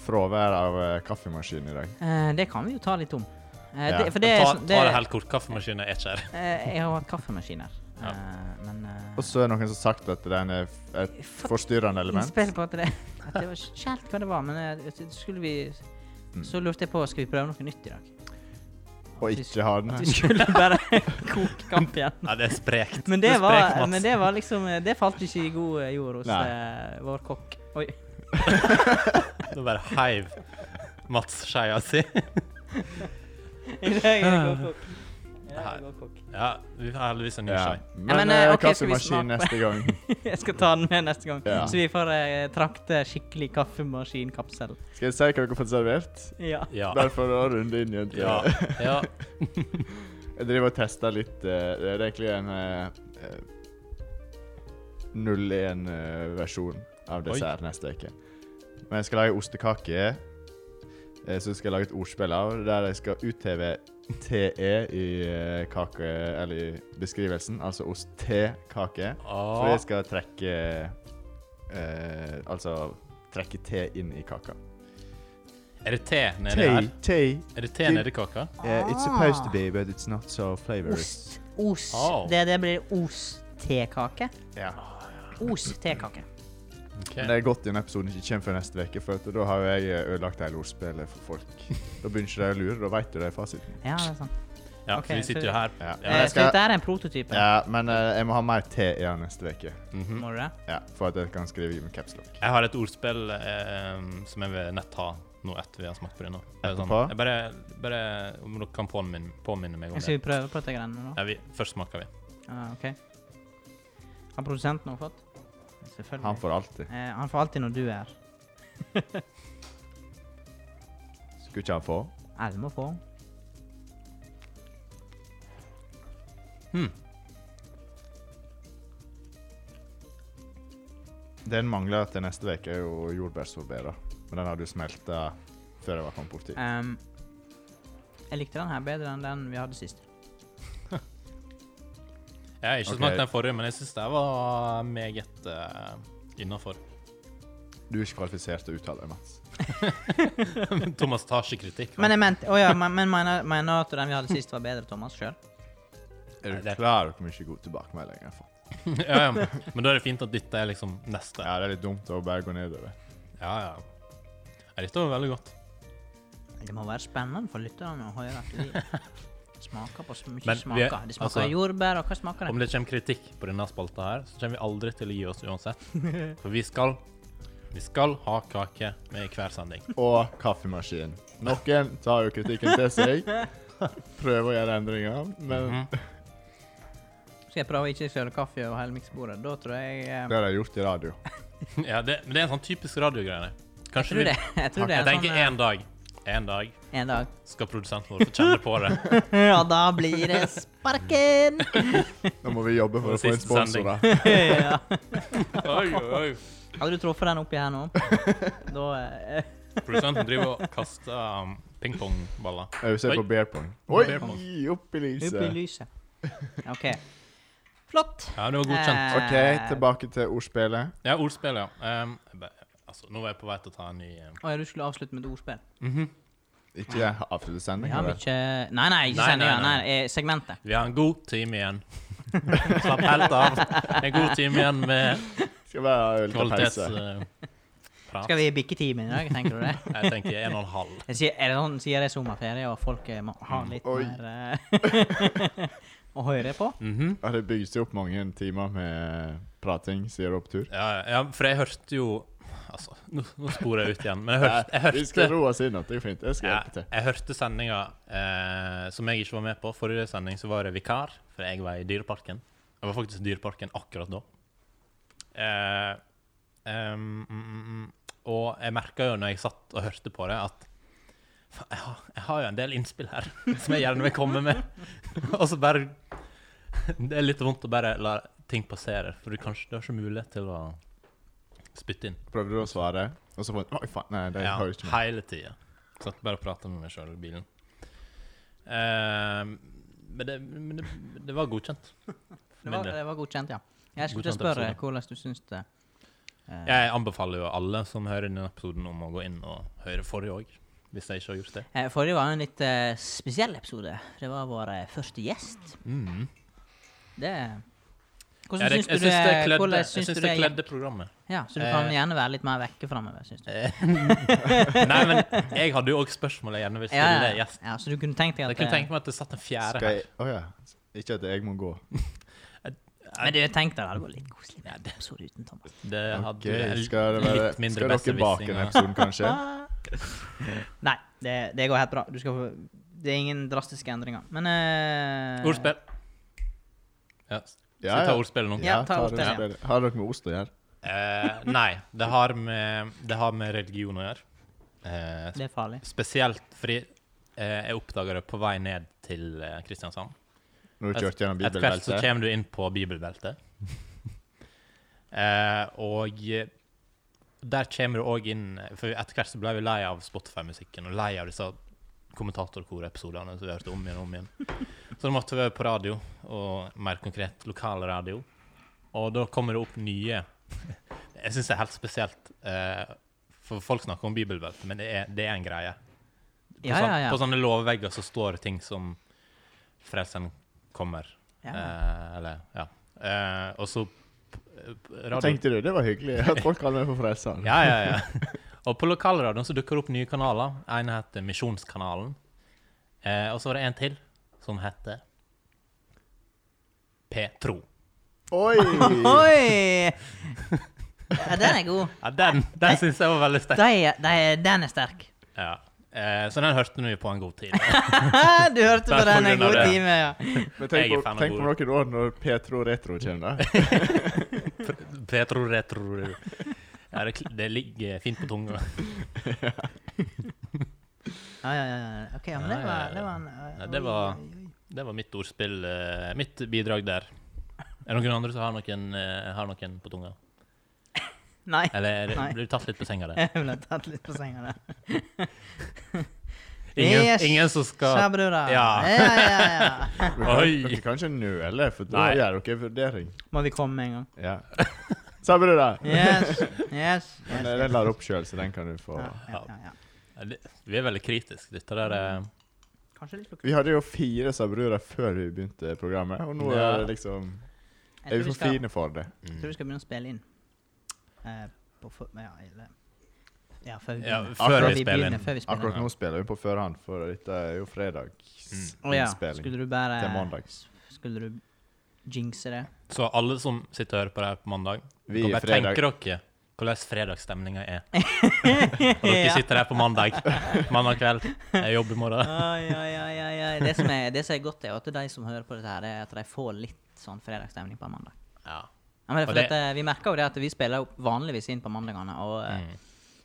fraværet av eh, kaffemaskin i dag. Eh, det kan vi jo ta litt om. Eh, Ja. det, for det er ta, sånn- ta det helt kort. Kaffemaskinen er ikke her. eh, Jeg har hatt kaffemaskiner, Ja. Eh, men eh, Og så er det noen som har sagt at den er f- et Fuck, forstyrrende element. Innspill på at det, at det var ikke helt hva det var, men eh, det- det skulle vi Mm. Så lurte jeg på skal vi prøve noe nytt i dag. Og ikke ha den Du her. (laughs) skulle bare koke kamp igjen. Nei, det er sprekt. Men det, er sprekt, var, Mats. men det var liksom eh, Det falt ikke i god eh, jord hos Nei. eh, vår kokk. Oi. (laughs) Nå bare heiv Mats skeia si. Jeg er en god kokk. Jeg er en god kokk. Ja, vi har heldigvis en ny Ja. skei. Ja, men, Men eh, eh, ok, skal vi smake kaffemaskin på- neste gang. (laughs) Jeg skal ta den med neste gang, Ja. så vi får eh, trakte skikkelig kaffemaskinkapsel. Skal jeg si hva dere har fått servert? Ja. Ja. Bare for å runde inn igjen. Ja. ja. Jeg driver og tester litt eh, Det er egentlig en eh, eh, 01-versjon av Oi. dessert neste uke. Men jeg skal lage ostekake. eh, Så skal jeg lage et ordspill av der jeg skal utheve TE i eh, kake, eller i beskrivelsen. Altså ost-te-kake. Å, For jeg skal trekke eh, Altså trekke te inn i kaka. Er det te nedi Te, her? te. Er det te nedi kaka? eh, it's supposed to be, but it's not so flavors. Ost. Os. Oh. Au. Det, det blir os-tekake. Ja. Os-tekake. Ok. Men det er godt denne episoden ikke kommer før neste uke, for at da har jo jeg eh, ødelagt hele ordspillet for folk. Da begynner ikke de å lure, da vet du det er fasiten. Ja, det er sant. Ja, ok, for vi sitter jo så- her. Ja, Eh, men, jeg Så skal, dette er en prototype? ja, men eh, jeg må ha mer te i den neste uke. Mhm. Må du det? Ja, for at jeg kan skrive i med capslock. Jeg har et ordspill eh, som jeg vil nett ha nå etter vi har smakt på det nå. Det er sånn- Etterpå? jeg bare, bare om dere kan påminne, påminne meg om Skal det. vi prøve på dette greiene nå? Ja, vi, først smaker vi. Ah, ok. Ah, Har produsenten noe fått? Selvfølgelig. Han får alltid. Eh, han får alltid når du er her. Skulle ikke han få? Alle må få. Hmm. Den mangler til neste uke, er jo jordbærsorbé, da. Men den har du smelta før jeg var kommet borti. Ehm, jeg likte den her bedre enn den vi hadde sist. Jeg har ikke Ok. smakt den forrige, men jeg syns det var meget uh, innafor. (laughs) Du er ikke kvalifisert til å uttale deg, Mats. Thomas tar ikke kritikk. Men jeg mente, å ja, men men mener, mener at den vi hadde sist, var bedre, Thomas sjøl? Er Nei, du det- klar over hvor mye god tilbakemelding jeg har fått? ja, ja, men da er det fint at dette er liksom neste. Ja, det er litt dumt å bare gå nedover. Ja, ja. Ja, dette var veldig godt. Det må være spennende for lytterne å høre at vi smaker på så mye Men vi er- smaker. Det smaker altså- jordbær, og hva smaker Om det? det kommer kritikk på denne spalta her, så kommer vi aldri til å gi oss (laughs) uansett. For vi skal vi skal ha kake med i hver sending. (laughs) Og kaffemaskin. Noen tar jo kritikken til (laughs) seg. Prøver å gjøre endringer, men Mhm. Skal jeg prøve å ikke søle kaffe over hele miksbordet? Da tror jeg eh, det har de gjort i radio. Ja, det, men det er en sånn typisk radiogreie. Jeg Kanskje tror vi det, jeg tror det Jeg er en tenker sånn en dag En dag eh, en (laughs) dag. skal produsenten vår få kjenne på det. (laughs) Ja, da blir det sparken! (laughs) Nå må vi jobbe for å få inn Siste sending. sponsorer. ja. Oi, oi. Hadde du truffet den oppi her (laughs) nå, da eh, Produsenten driver og kaster um, pingpongballer. Jeg vil se på Oi. beer pong. Oi, Beer pong. opp i Opp i lyset. lyset. OK. Flott. Ja, det var Eh. godkjent. OK, tilbake til ordspillet. Ja, ordspill, ja. Um, jeg bare- altså, nå er jeg på vei til å ta en ny um, Å ja, du skulle avslutte med et ordspill? Ikke avslutte Vi sendinga, har vel? ikke Nei, nei, ikke Nei, sendinga. nei, Nei, nei. eh, segmentet. Vi har en god time (laughs) igjen. Slapp helt av. En god time igjen med Skal bare ha litt pause. kvalitetsprat. Skal vi bikke timen i dag, tenker du det? eh, Jeg tenker en og en halv. Jeg sier, er det sånn, sier det er sommerferie, og folk eh, må ha litt Oi. mer eh, (laughs) å høre på? Mhm. Ja, det bygges jo opp mange timer med prating, sier opptur. ja, ja, ja, for jeg hørte jo Altså, nå, nå sporer jeg ut igjen, men jeg hørte, jeg Vi skal hørte roe oss inn at det går fint. Jeg skal ja, hjelpe til. jeg hørte sendinga eh, som jeg ikke var med på. Forrige sending så var jeg vikar, for jeg var i Dyreparken. Jeg var faktisk i Dyreparken akkurat da. Eh, em, mm, mm, mm. og jeg merka jo når jeg satt og hørte på det, at "Fa- jeg har, jeg har jo en del innspill her (laughs) som jeg gjerne vil komme med. (laughs) og så bare Det er litt vondt å bare la ting passere, for du kanskje du har ikke mulighet til å spytte inn. Prøvde du å svare, og så bare Oi, faen. Nei, det Ja, har jo ikke med. hele tida. Satt bare og prata med meg sjøl i bilen. Eh, men det, men det, det var godkjent. (laughs) Det var, det var godkjent, ja. Jeg skulle til å Godkjent spørre episode. hvordan du syns det eh, Jeg anbefaler jo alle som hører denne episoden, om å gå inn og høre forrige òg. Hvis jeg ikke har gjort det. eh, Forrige var jo en litt eh, spesiell episode. Det var vår eh, første gjest. Mm. Det Ja, Hvordan det, syns jeg du syns det det kledde, hvordan jeg syns synes du det det gikk? kledde programmet. Ja, så du kan Eh, gjerne være litt mer vekke framover, syns du. Eh, Nei, men jeg hadde jo òg spørsmål jeg gjerne vil Ja, stille ja, ja. gjesten. ja, så du kunne tenkt deg Jeg at kunne eh, tenke meg at det satt en fjerde Skal jeg her. Å ja. Ikke at jeg må gå. Men du tenkte det hadde vært litt koselig med Ja, en det- episode uten Thomas. Det Ok, hadde skal, det være, litt mindre skal dere bake besserwissing en og- episode, kanskje? Ah. (laughs) Nei, det, det går helt bra. Du skal få Det er ingen drastiske endringer. Men eh, Ordspill. Ja. Skal Ja, vi ta ja. ordspillet nå? Ja, ta tar oss dere det. spillet. Har dere med ost å gjøre? Eh, nei, det har med, det har med religion å gjøre. Eh, Det er farlig. spesielt fordi eh, jeg oppdaga det på vei ned til eh, Kristiansand. Når du Et- kjørte gjennom Etter hvert så bibelbeltet? kommer du inn på (laughs) bibelbeltet. eh, og eh, der kommer du òg inn For etter hvert så ble vi lei av Spotify-musikken og lei av disse kommentatorkorepisodene som vi hørte om igjen og om igjen. (laughs) Så da måtte vi på radio, og mer konkret lokal radio. Og da kommer det opp nye Jeg syns det er helt spesielt. eh, for folk snakker om bibelbelte, men det er, det er en greie. På, Ja, ja, sånn- ja. på sånne låvvegger så står det ting som Frelseren kommer. ja. Eh, eller, ja. Eh, og så p- p- radio- Tenkte du, det (laughs) var hyggelig at folk kaller meg for frelseren? ja, ja, (laughs) ja. Og på lokalradioen så dukker det opp nye kanaler. En heter Misjonskanalen. Eh, og så var det en til som heter Petro. (laughs) Oi! Oi! Ja, den er god. Ja, den den syns jeg var veldig sterk. De, de, den er sterk. (laughs) Ja. Eh, så den hørte vi på en god tid. (laughs) du hørte på Bare på den en grunn av god det. time, ja. Men Jeg tenk er på, fan av tenk på noen år når Petro Retro (laughs) kommer, da. Pre- Petro retro. Ja, det, kl- det ligger fint på tunga. Ja, ja, ja, ja. OK, ja, men det var Det var, en, Nei, det var- Det var mitt ordspill. eh, mitt bidrag der. Er det noen andre som har noen, eh, har noen på tunga? Nei. (laughs) Eller er det, Nei. Eh, blir du tatt litt på senga der? Jeg ville tatt litt på senga der. Ingen, Yes. ingen som Sa skal brura. Ja. ja, ja, ja. (laughs) Dere, Oi. kan- dere kan ikke nøle, for da Nei. gjør dere en vurdering. Må vi komme med en gang? Ja. Sa du (laughs) det? Yes. Yes. (laughs) Men yes, eh, yes. den lar opp sjøl, så den kan du få. Ja, ja, ja, ja. Ja, det- Vi er veldig kritiske. Dette der eh, Mm. er Kanskje litt Vi hadde jo fire sabrurer før vi begynte programmet, og nå Ja. er det liksom Jeg tror Er vi vi for skal, fine for det? Mm. jeg tror vi skal begynne å spille inn. Eh, på for, ja, eller Ja, før vi Ja, begynner. før Før vi vi spiller begynner, inn. før vi spiller Akkurat inn. nå spiller vi på førhånd, for dette er jo Å ja, fredagsinnspilling. skulle du bare Til mandag. Skulle du jinxe det? Så alle som sitter og hører på det her på mandag, Vi kan er bare fredag. tenke dere hvordan fredagsstemninga (laughs) er. Og dere sitter her på mandag mandag kveld. Jeg jobber i morgen. Ai, ai, ai, ai, ai. Det som er, det som er godt, er jo at de som hører på dette, her, det er at de får litt sånn fredagsstemning på en mandag. Ja. Ja, men det er Og fordi det- at, eh, vi merker jo det at vi spiller jo vanligvis inn på mandagene, og eh, Mm.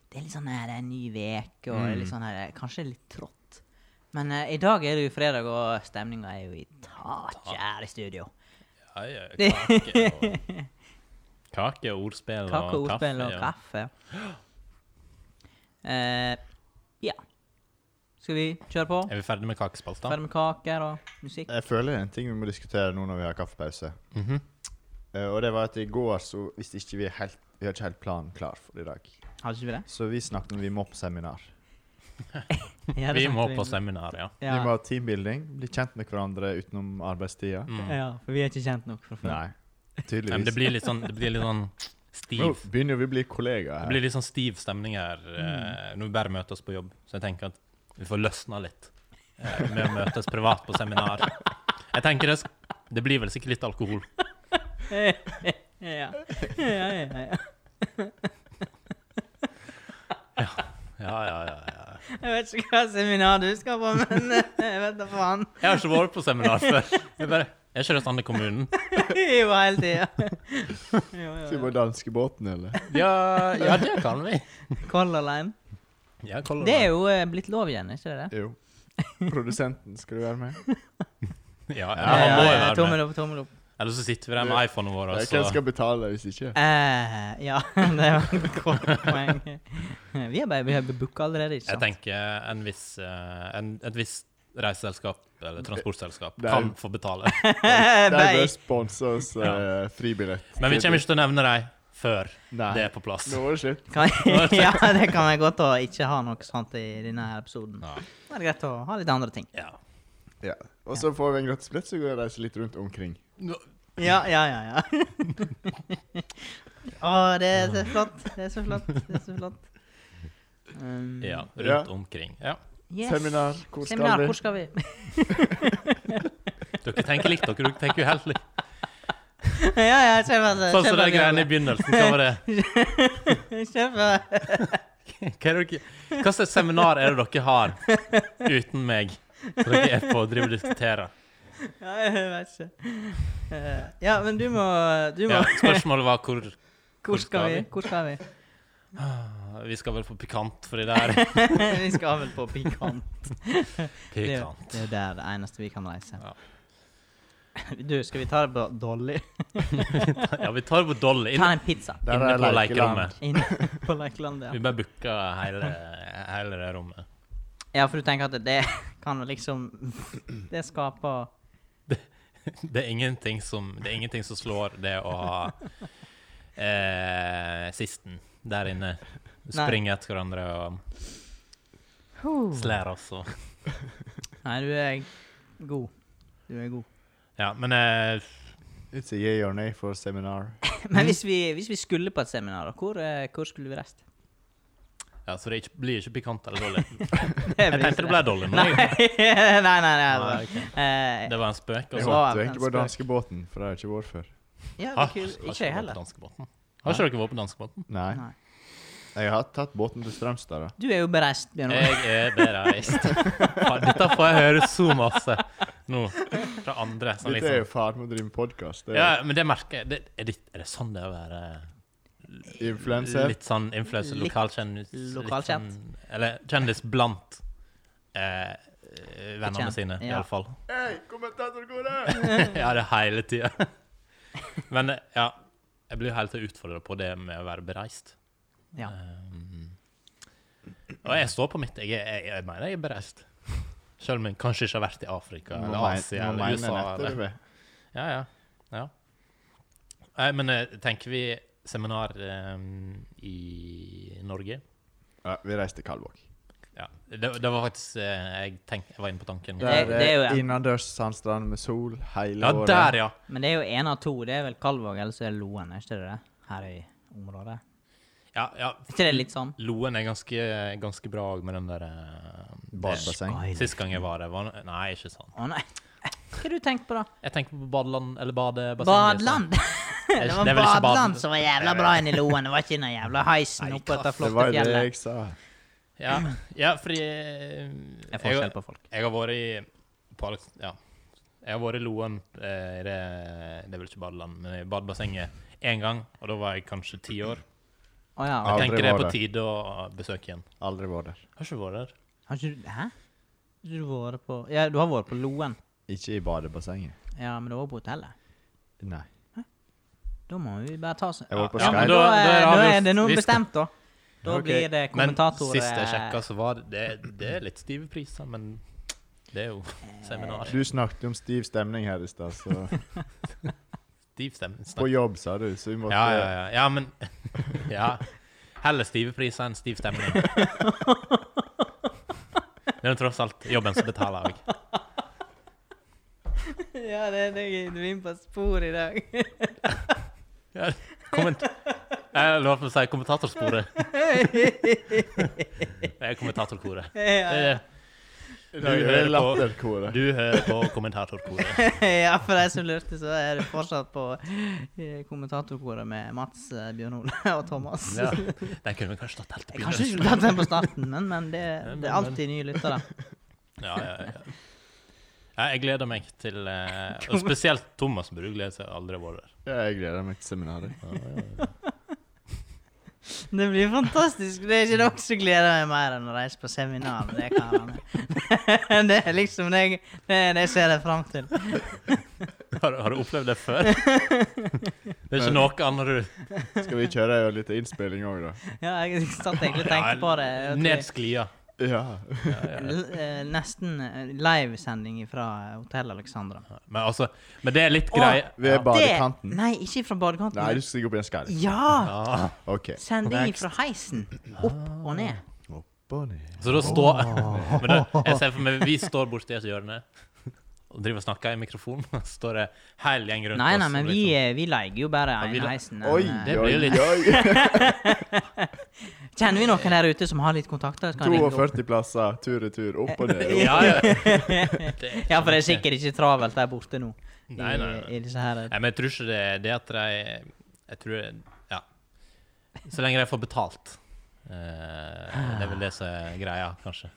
det er litt sånn her, det er en ny vek, og det er litt Mm. sånn her, kanskje litt trått. Men eh, i dag er det jo fredag, og stemninga er jo i taket her i studio. Ja, ja, (laughs) kake og Kake og ordspill og kaffe. Kake, ordspill og ja. kaffe. (gasps) Eh, ja. Skal vi kjøre på? Er vi ferdig med kakespalta? Ferdig med kaker og musikk? Jeg føler det er en ting vi må diskutere nå når vi har kaffepause. Mhm. Eh, Og det var at i går så hvis ikke vi er helt vi har ikke helt planen klar for i dag. Hadde ikke vi det? Så vi snakket om vi må på seminar. (laughs) Ja, det sånn Vi snakket må på om. seminar, ja. Ja. Vi må ha teambuilding, bli kjent med hverandre utenom arbeidstida. Mm. ja, for vi er ikke kjent nok fra før. Nei, Nei, men det tydeligvis. blir litt sånn, det blir litt sånn Nå stiv begynner vi å bli kollegaer Det her. blir litt sånn stiv stemning her eh, når vi bare møter oss på jobb. Så jeg tenker at vi får løsna litt eh, med å møtes privat på seminar. Jeg tenker det, sk- det blir vel sikkert litt alkohol. ja. (laughs) Ja, ja, Ja, ja, ja. ja, ja, ja. Jeg vet ikke hva seminar du skal på, men eh, jeg vet da faen. (laughs) Jeg har ikke vært på seminar før. Jeg bare, er ikke det sånn i kommunen? Jo, hele tida. (laughs) Jo, Skal vi jo, på danskebåten, eller? Ja, ja, det kan vi. jo. Color Line. Ja, Color Det er Line. jo eh, blitt lov igjen, er ikke det det? (laughs) Jo. Produsenten, skal du være med? Ja, ja, Ja, han må jo ja, ja, være med. Tommel opp, tommel opp. Eller så sitter vi der med iPhonen vår, Nei, og Hvem så skal betale hvis ikke? Eh, ja, (laughs) det var et godt poeng. Vi har bare vi har booka allerede, ikke Jeg sant? tenker en viss, eh, en, et visst reiseselskap eller transportselskap Det er- kan få betale. De bør Nei. sponse oss Ja. eh, fribillett. Men vi kommer ikke til å nevne dem før Nei. det er på plass. Nå er det slutt. Kan, (laughs) ja, det kan være godt å ikke ha noe sånt i denne her episoden. Ja. Da er det greit å ha litt andre ting. Ja. Ja. Og så får vi en gratis billett, så går jeg og reiser litt rundt omkring. Mm. Ja, ja, ja. ja. (laughs) Å, det er så flott. Det er så flott. Det er så flott. Um, Ja, rundt Ja. omkring. Ja. yes. Seminar, hvor skal Seminar, vi? hvor skal vi? (laughs) Dere tenker likt, dere. Dere tenker jo helt likt. ja, ja, kjøp altså. Sånn kjøp som de altså. greiene i begynnelsen. Hva var det? (laughs) Kjøp altså. Hva er dere, hva slags seminar er det dere har uten meg? Så dere er på å drive og diskutere. Ja, jeg vet ikke. Eh, Ja, men du må, du må. Ja, spørsmålet var hvor Hvor skal vi? Hvor (laughs) skal vi? Ah, Vi skal vel på pikant, fordi det (laughs) er vi skal vel på pikant. Det er jo- pikant. (laughs) det er jo der det eneste vi kan reise. Ja. (laughs) Du, skal vi ta det på Dolly? Ja, vi tar det på Dolly. Ta Inn, en pizza Der inne er på lekeland. lekerommet. inn på Lekeland. Ja. Vi bare booka hele, hele det rommet. ja, for du tenker at det kan liksom Det skaper Det er ingenting som, det er ingenting som slår det å ha eh, sisten der inne. Nei. Springe etter hverandre og slære oss og Nei, du er god. Du er god. Ja, men eh, It's a yeah or nay for seminar. Mm. Men hvis vi, hvis vi skulle på et seminar, da, hvor, eh, hvor skulle vi reist? ja, Så det ikke, blir ikke pikant (laughs) eller dårlig? Jeg Jeg tenkte det ble dårlig. Nei, Men jeg, (laughs) nei, nei. nei, Nei, altså. Eh, det var en spøk. Jeg Så Altså. er håpet det egentlig en på spøk. danskebåten, for det har jeg ikke vært før. ja, Har, det er kul. Ah, har Ikke jeg dere vært på heller. danskebåten? Har ikke dere vært på danskebåten? Nei. Nei. Jeg har tatt båten til Strømstad, da. Du er jo bereist, Bjørn Ole. Jeg er bereist. Faen, Dette får jeg høre så masse nå fra andre. Sånn Dette er jo liksom. faren med å drive med podkast. Ja, men det merker jeg. Det, er, det, er det sånn det er å være Influenser. litt sånn influenser, Litt lokalkjendis? litt lokalkjent. sånn- Eller kjendis blant eh, vennene Kjent, sine, i ja. alle (laughs) fall. Hei, kommentatorkoret! ja, det er hele tida. (laughs) Men eh, ja, jeg blir hele tida utfordra på det med å være bereist. Ja. Um, og jeg står på mitt. Jeg, er- jeg, jeg mener jeg er bereist. (laughs) Selv om jeg kanskje ikke har vært i Afrika Nå eller Asia mener eller USA. nettet Eller. det. Ja, ja. ja. Nei, men eh, tenker vi seminar um, i Norge? Ja, vi reiser til Kalvåg. Ja. Det, det var faktisk eh, jeg, tenk, jeg var inne på tanken. Det- Der eh, det er jo er en- innendørs sandstrand med sol hele Ja, året. der, ja! Men det er jo én av to. Det er vel Kalvåg, eller så er det Loen, er ikke det det? Her i området. ja, ja. Er ikke det litt sånn? Loen er ganske, ganske bra òg, med den der eh, Badebasseng. Sist gang jeg var der, var Nei, ikke sant. Å nei. Hva har du tenkt på, da? Jeg tenker på badeland eller badebassenget. liksom. Badeland! er (laughs) Det ikke- var det er vel ikke badeland bad- som var jævla bra inne i Loen. Det var ikke den jævla heisen Nei, oppe etter kaffe. Det flotte var jo det fjellet. jeg sa. Ja, ja fordi eh, Det er jeg, forskjell har- på folk. jeg har vært i på Alex, Ja. Jeg har vært i Loen, eh, i det, det er vel ikke badeland, men i badebassenget én gang. Og da var jeg kanskje ti år. Å ja. Jeg Aldri tenker det er på vært tide å besøke igjen. Aldri vært der. Har ikke vært der. Har ikke du Hæ? Har ikke du vært på Ja, du har vært på Loen. Ikke i badebassenget. Ja, men du var på hotellet. Nei. Da må vi bare ta oss Jeg var på Ja, men men Skype. da, da- da er eh, da avgjort. er det noe Vi skal- bestemt, da. Da Ok. blir det Men kommentator sist jeg eh, sjekka, så var det- det Det er litt stive priser, men det er jo Eh, seminar. Du snakket om stiv stemning her i stad, (laughs) så Stiv stemning. stemning. På jobb, altså. sa du, så vi måtte Ja, ja, ja. ja men (laughs) ja. Heller stive priser enn stiv (laughs) stemning. Det er jo tross alt jobben som betaler òg. (laughs) Ja, det, det, du er inne på et spor i dag. (laughs) Komment jeg lover å si kommentatorsporet. Det er kommentatorkoret. ja, Eh, Du Du hører hører på- latterkoret. Du hører på kommentatorkoret. ja, for de som lurte, så er du fortsatt på eh, kommentatorkoret med Mats, eh, Bjørn Ole (laughs) og Thomas. Ja. Den kunne vi kanskje tatt helt i Jeg kanskje begynnelsen. skulle tatt den på starten, men, men det, men- det er alltid nye lyttere. Ja, ja, ja. Ja, Jeg gleder meg til eh, Og spesielt Thomas Bru gleder seg aldri over det. Ja, jeg gleder meg til seminaret. Det blir fantastisk. Det er ikke dere som gleder meg mer enn å reise på seminar med de karene. (laughs) det er liksom det jeg, det, er det jeg ser jeg fram til. eh, Har, har du opplevd det før? Det er ikke noe annet du Skal vi kjøre jo litt innspilling òg, da? Ja, jeg satt egentlig og tenkte på det. at vi- Ned sklia. Ja. L- eh, nesten eh, livesending fra Hotell Alexandra. Men, altså, men det er litt Å, greie Ved Det- badekanten. Nei, ikke fra badekanten. Nei, du skal gå opp i en skall. Ja! Ja. OK. Sending fra heisen. Opp og Ah. ned. Opp og ned. Så da står (laughs) Men da, jeg ser for meg vi står borti et hjørne og driver og snakker i mikrofonen. og Så står det hel gjeng rundt Nei, oss. nei, men og vi, liksom- eh, vi leier jo bare Ja, vi ene le- heisen. Oi, men, eh, det blir jo oi, litt- oi. (laughs) Kjenner vi noen der ute som har litt kontakter? så kan vi ringe opp. 42 plasser, tur-retur, opp og ned. (laughs) ja, ja. Det- (laughs) Ja, for det er sikkert ikke travelt der borte nå. I, Nei, nei, nei. i disse her. Nei, men jeg tror ikke det er det at de Jeg tror Ja. Så lenge de får betalt. Eh, det er vel det som er greia, kanskje.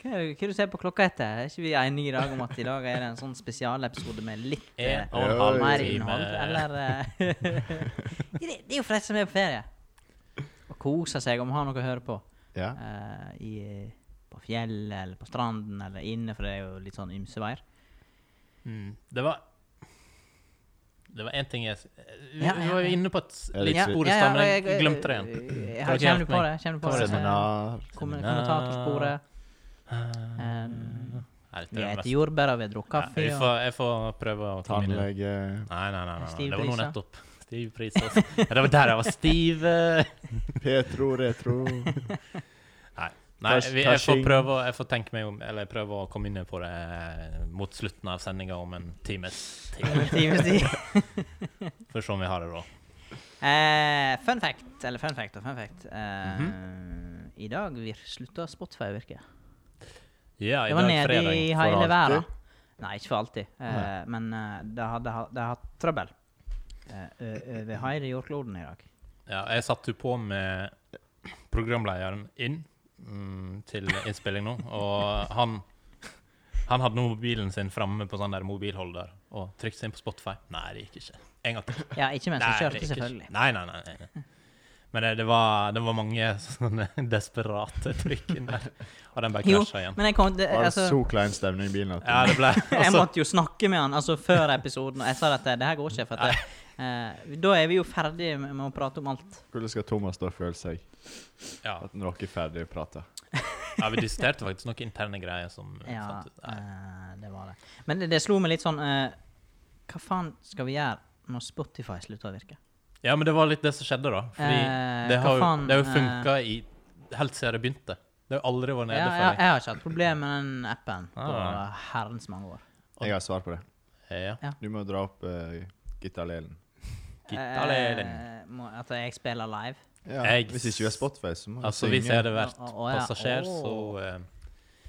Hva er det hva er det du ser på klokka etter? Er ikke vi enige i dag om at i dag er det en sånn spesialepisode med litt eh, En og en halv mer time. innhold, eller eh, (laughs) Det det er jo for de som er på ferie. Og koser seg om å ha noe å høre på. Ja. eh, i, på fjellet eller på stranden eller inne, for det er jo litt sånn ymse veier. Mm. Det var Det var én ting jeg Vi, Ja, vi ja, var jo ja. inne på et s- Ja, litt riktig. spor i stad, men jeg glemte det igjen. eh, Kan dere Ja, kommer du hjelpe på det? meg? Kommer du på det? Seminar. Kom- Seminar. Kommentatorsporet. Um, Vi spiser jordbær og vi drikker kaffe. jeg, og- får, jeg får prøve å komme inn i det. Tannlege. Nei, nei, nei. nei, nei. Stiv Det var nå priser. nettopp. Stiv pris. altså. Ja, det var der jeg var stiv. eh. (laughs) Petro, retro. Nei, Ters- vi, jeg får tersing. prøve å- jeg får tenke meg om Eller prøve å komme inn på det eh, mot slutten av sendinga om en times tid. (laughs) en times tid. For å se om vi har det da. Eh, fun fact, eller fun fact og fun fact. Eh, Mhm. I dag vir- slutta Spotify å virke. Ja, i Det var dag nede fredag. i for hele alltid. verden. Nei, ikke for alltid. Eh, men eh, de hadde ha- de har hatt trøbbel eh, ø- over hele jordkloden i dag. Ja, jeg satte jo på med programlederen inn mm, til innspilling nå, og han han hadde nå mobilen sin framme på sånn der mobilholder og trykte seg inn på Spotify. Nei, det gikk ikke. En gang til. Ja, ikke mens vi Nei, kjørte, det gikk ikke. selvfølgelig. Nei, nei, nei. nei, nei. Men det, det, var, det var mange (laughs) sånne desperate trykk inn der, og den bare Jo, krasja igjen. Men jeg kom det, Var det (laughs) altså, så klein stemning i bilen at Ja, det ble (laughs) (laughs) Jeg altså, måtte jo snakke med han altså, før episoden, og jeg sa at det her går ikke. For at det, eh, da er vi jo ferdige med med å prate om alt. Hvordan skal Thomas da føle seg ja, at når dere er ferdig prata? ja, vi diskuterte faktisk noen interne greier som Ja, fant ut. Nei. eh, det var det. Men det, det slo meg litt sånn eh, Hva faen skal vi gjøre når Spotify slutter å virke? Ja, men det var litt det som skjedde, da. Fordi Eh, det hva har jo, faen, det har jo eh, funka i Helt siden det begynte. Det har jo aldri vært nede Ja, ja, for meg. jeg har ikke hatt problemer med den appen på Ah. herrens mange år. Jeg har svar på det. Eh, Ja. Du må dra opp uh, gitarlelen. Gitarlelen. Eh, må, at jeg spiller live. Ja, Jeg- hvis ikke du er Spotify, så må du Altså, hvis jeg synge. hadde vært Å, å, ja. passasjer, Å. så eh,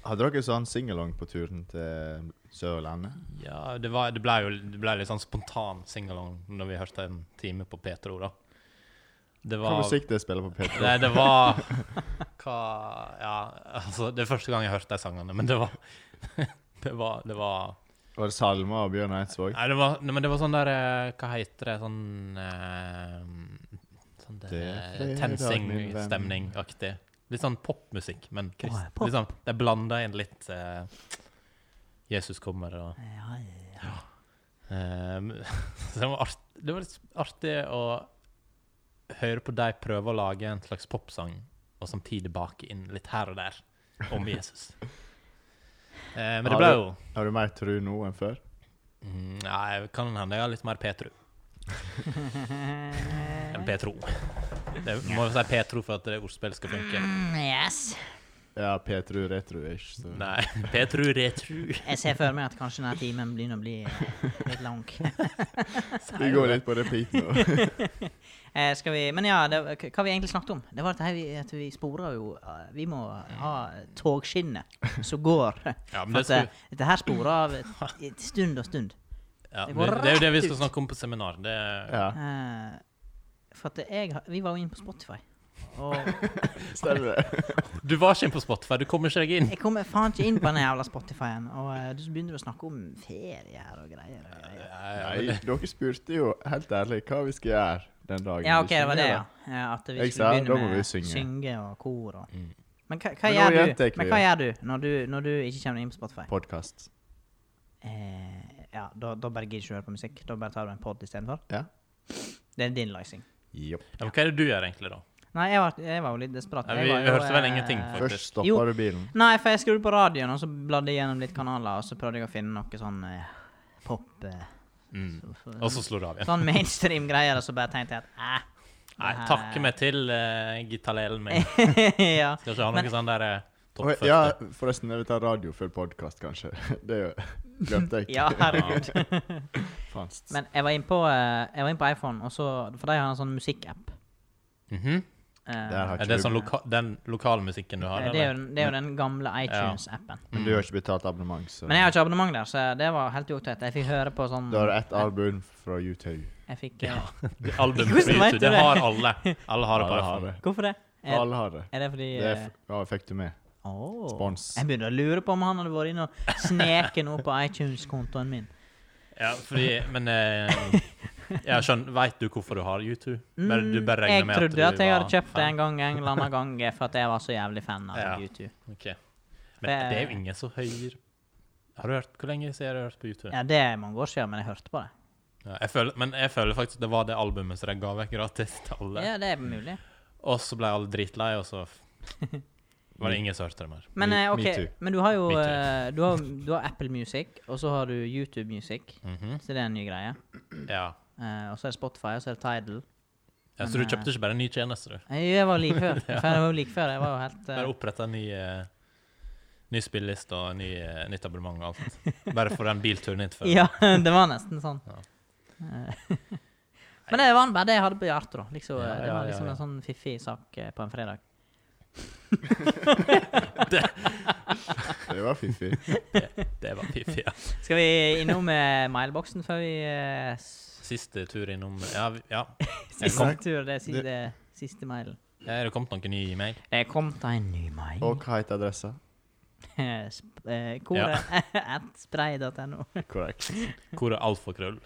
Hadde dere sånn singalong på turen til Sørlandet? Ja, det, var, det ble jo det ble litt sånn spontan singalong når vi hørte en time på Petro, da. Det Hva var musikk det spiller på P2? Nei, det var Hva Ja, altså, det er første gang jeg hørte de sangene, men det var (laughs) Det var, det var Var det salmer av Bjørn Eidsvåg? Nei, det var, nei, men det var sånn der eh, Hva heter det? Sånn eh, Sånn Det er der fredag, min venn. TenSing-stemning-aktig. Litt sånn popmusikk, men krist. Åh, pop. Litt sånn, det blanda inn litt eh, Jesus kommer og Ja, ja. Ehm, (laughs) så det, var art, det var litt artig å høre på deg prøve å lage en slags popsang, og samtidig bake inn litt her og der (laughs) om Jesus. Eh, men det ble Har du- jo Har du mer tru nå enn før? mm, Nei, kan hende jeg har litt mer (laughs) Petro enn Petro. Det må jo si Petro for at det ordspillet skal funke. Mm, yes. Ja, P-tru retru, ikke så. Nei, (laughs) Petro retru. Jeg ser for meg at kanskje denne timen begynner å bli eh, litt (laughs) lang. Vi går litt på repeat nå. (laughs) Eh, skal vi, men ja, det, k- hva vi egentlig snakket om? Det var at, her vi, at vi sporer jo eh, Vi må ha togskinnet som går. Ja, men (laughs) For det, at, skal, eh, dette her sporer (laughs) av et- et stund og stund. ja, det det, går det er jo det vi rett skal ut. snakke om på seminar. Det, Ja, Eh, for at jeg har- Vi var jo inne på Spotify. Og stemmer det. du var ikke inne på Spotify, du kommer ikke deg inn. jeg kommer faen ikke inn på den jævla Spotify-en. Og eh, du begynner å snakke om ferie her og greier. og greier. Nei, Nei, dere spurte jo helt ærlig hva vi skal gjøre den dagen. Ja, vi OK, det var synger, det, ja. da. ja at vi skulle Jeg sa, da begynne må vi med synge. synge og kor og Mm. Men hva, hva, Men nå gjør, gjentar du? ikke Men vi hva det. gjør du når du når du ikke kommer inn på Spotify? Podcast. Eh, ja, da, da bare gidder du ikke høre på musikk. Da bare tar du en pod istedenfor. Ja. Det er din løsning. Jopp. Ja, men hva er det du gjør egentlig, da? Nei, jeg var, jeg var jo litt desperat. Ja, Jeg vi- var vi jo, hørte vel eh, ingenting for- Først Jo. stoppa du bilen. Nei, for jeg skrudde på radioen, og så bladde jeg gjennom litt kanaler, og så prøvde jeg å finne noe sånn eh, pop eh, Mm. så- Og så slo det av igjen. Sånn mainstream-greier, og så bare tenkte jeg at eh, det Nei, her- takke meg til uh, gitarlelen (laughs) min. ja. Skal ikke ha noe Men- sånn der eh, topp Oi, 40. Ja, forresten, jeg vil ta radio før podcast, kanskje. (laughs) Det er jo glemte jeg. ja, herregud. (laughs) Fanst. Men jeg var inne på, eh, jeg var inn på iPhone, og så, for de har en sånn musikkapp. Mhm. Eh, Der har Er det ikke sånn du, loka den lokalmusikken du har? eh, det, er jo, eller? den- det er jo den gamle iTunes-appen. men du har ikke betalt abonnement, så Men jeg har ikke abonnement der, så det var helt uaktuelt. Jeg fikk høre på sånn Du har ett album fra U2. Jeg fikk, eh, Ja. Album på Hvordan YouTube, vet du det det? har alle. Alle har det på Alle har iPhone. det. Hvorfor det? Er, Alle har det. er det fordi Det er f ja, fikk du med. eh, åh. Spons. Jeg begynner å lure på om han hadde vært inne og sneket noe på iTunes-kontoen min. Ja, fordi Men eh, jeg skjønner Veit du hvorfor du har YouTube? Bare, du bare regner Mm, jeg med trodde at, du jeg var hadde kjøpt fan. det en gang en eller annen gang eh, for at jeg var så jævlig fan av Ja. YouTube. Ok. Men Det- det er jo ingen som hører Har du hørt Hvor lenge siden har du hørt på YouTube? Ja, det er mange år siden, men jeg hørte på det. Ja, jeg føler, men jeg føler faktisk det var det albumet som de ga vekk gratis til alle. Ja, det er mulig. Og så ble alle dritlei, og så (laughs) f- var det ingen som hørte det mer. Men, Me- eh, ok, me too. men du har jo Me too. eh, du har, du har Apple Music, og så har du YouTube Music. Mhm. Så det er en ny greie. Ja. Eh, og så er det Spotify, og så er det Tidal. ja. Så du Men, eh, kjøpte ikke bare en ny tjeneste, du? Jeg, jeg var (laughs) like før. For jeg var jo like før. Jeg var jo helt eh, Bare oppretta en ny, eh, ny spilleliste og ny, eh, nytt abonnement og (laughs) alt. Bare for den bilturen hit før. Ja, (laughs) det var nesten sånn. Ja. Eh, (laughs) Men det var bare det jeg hadde på hjertet. da. Liksom, Ja, eh, det ja, var ja, liksom ja. en sånn fiffig sak eh, på (laughs) en fredag. (laughs) Det var fiffig. Det var piffig. Ja. Skal vi innom eh, mailboksen før vi eh, s- Siste tur innom Ja. vi- ja. Jeg Siste kom- tur, det er Det- siste, siste mailen. Er det kommet noen ny e-mail? Det kom da en ny mail. Og hva heter adressa? Sp- (laughs) eh, Koret (laughs) at spray.no. Korrekt. Hvor er alfakrøll?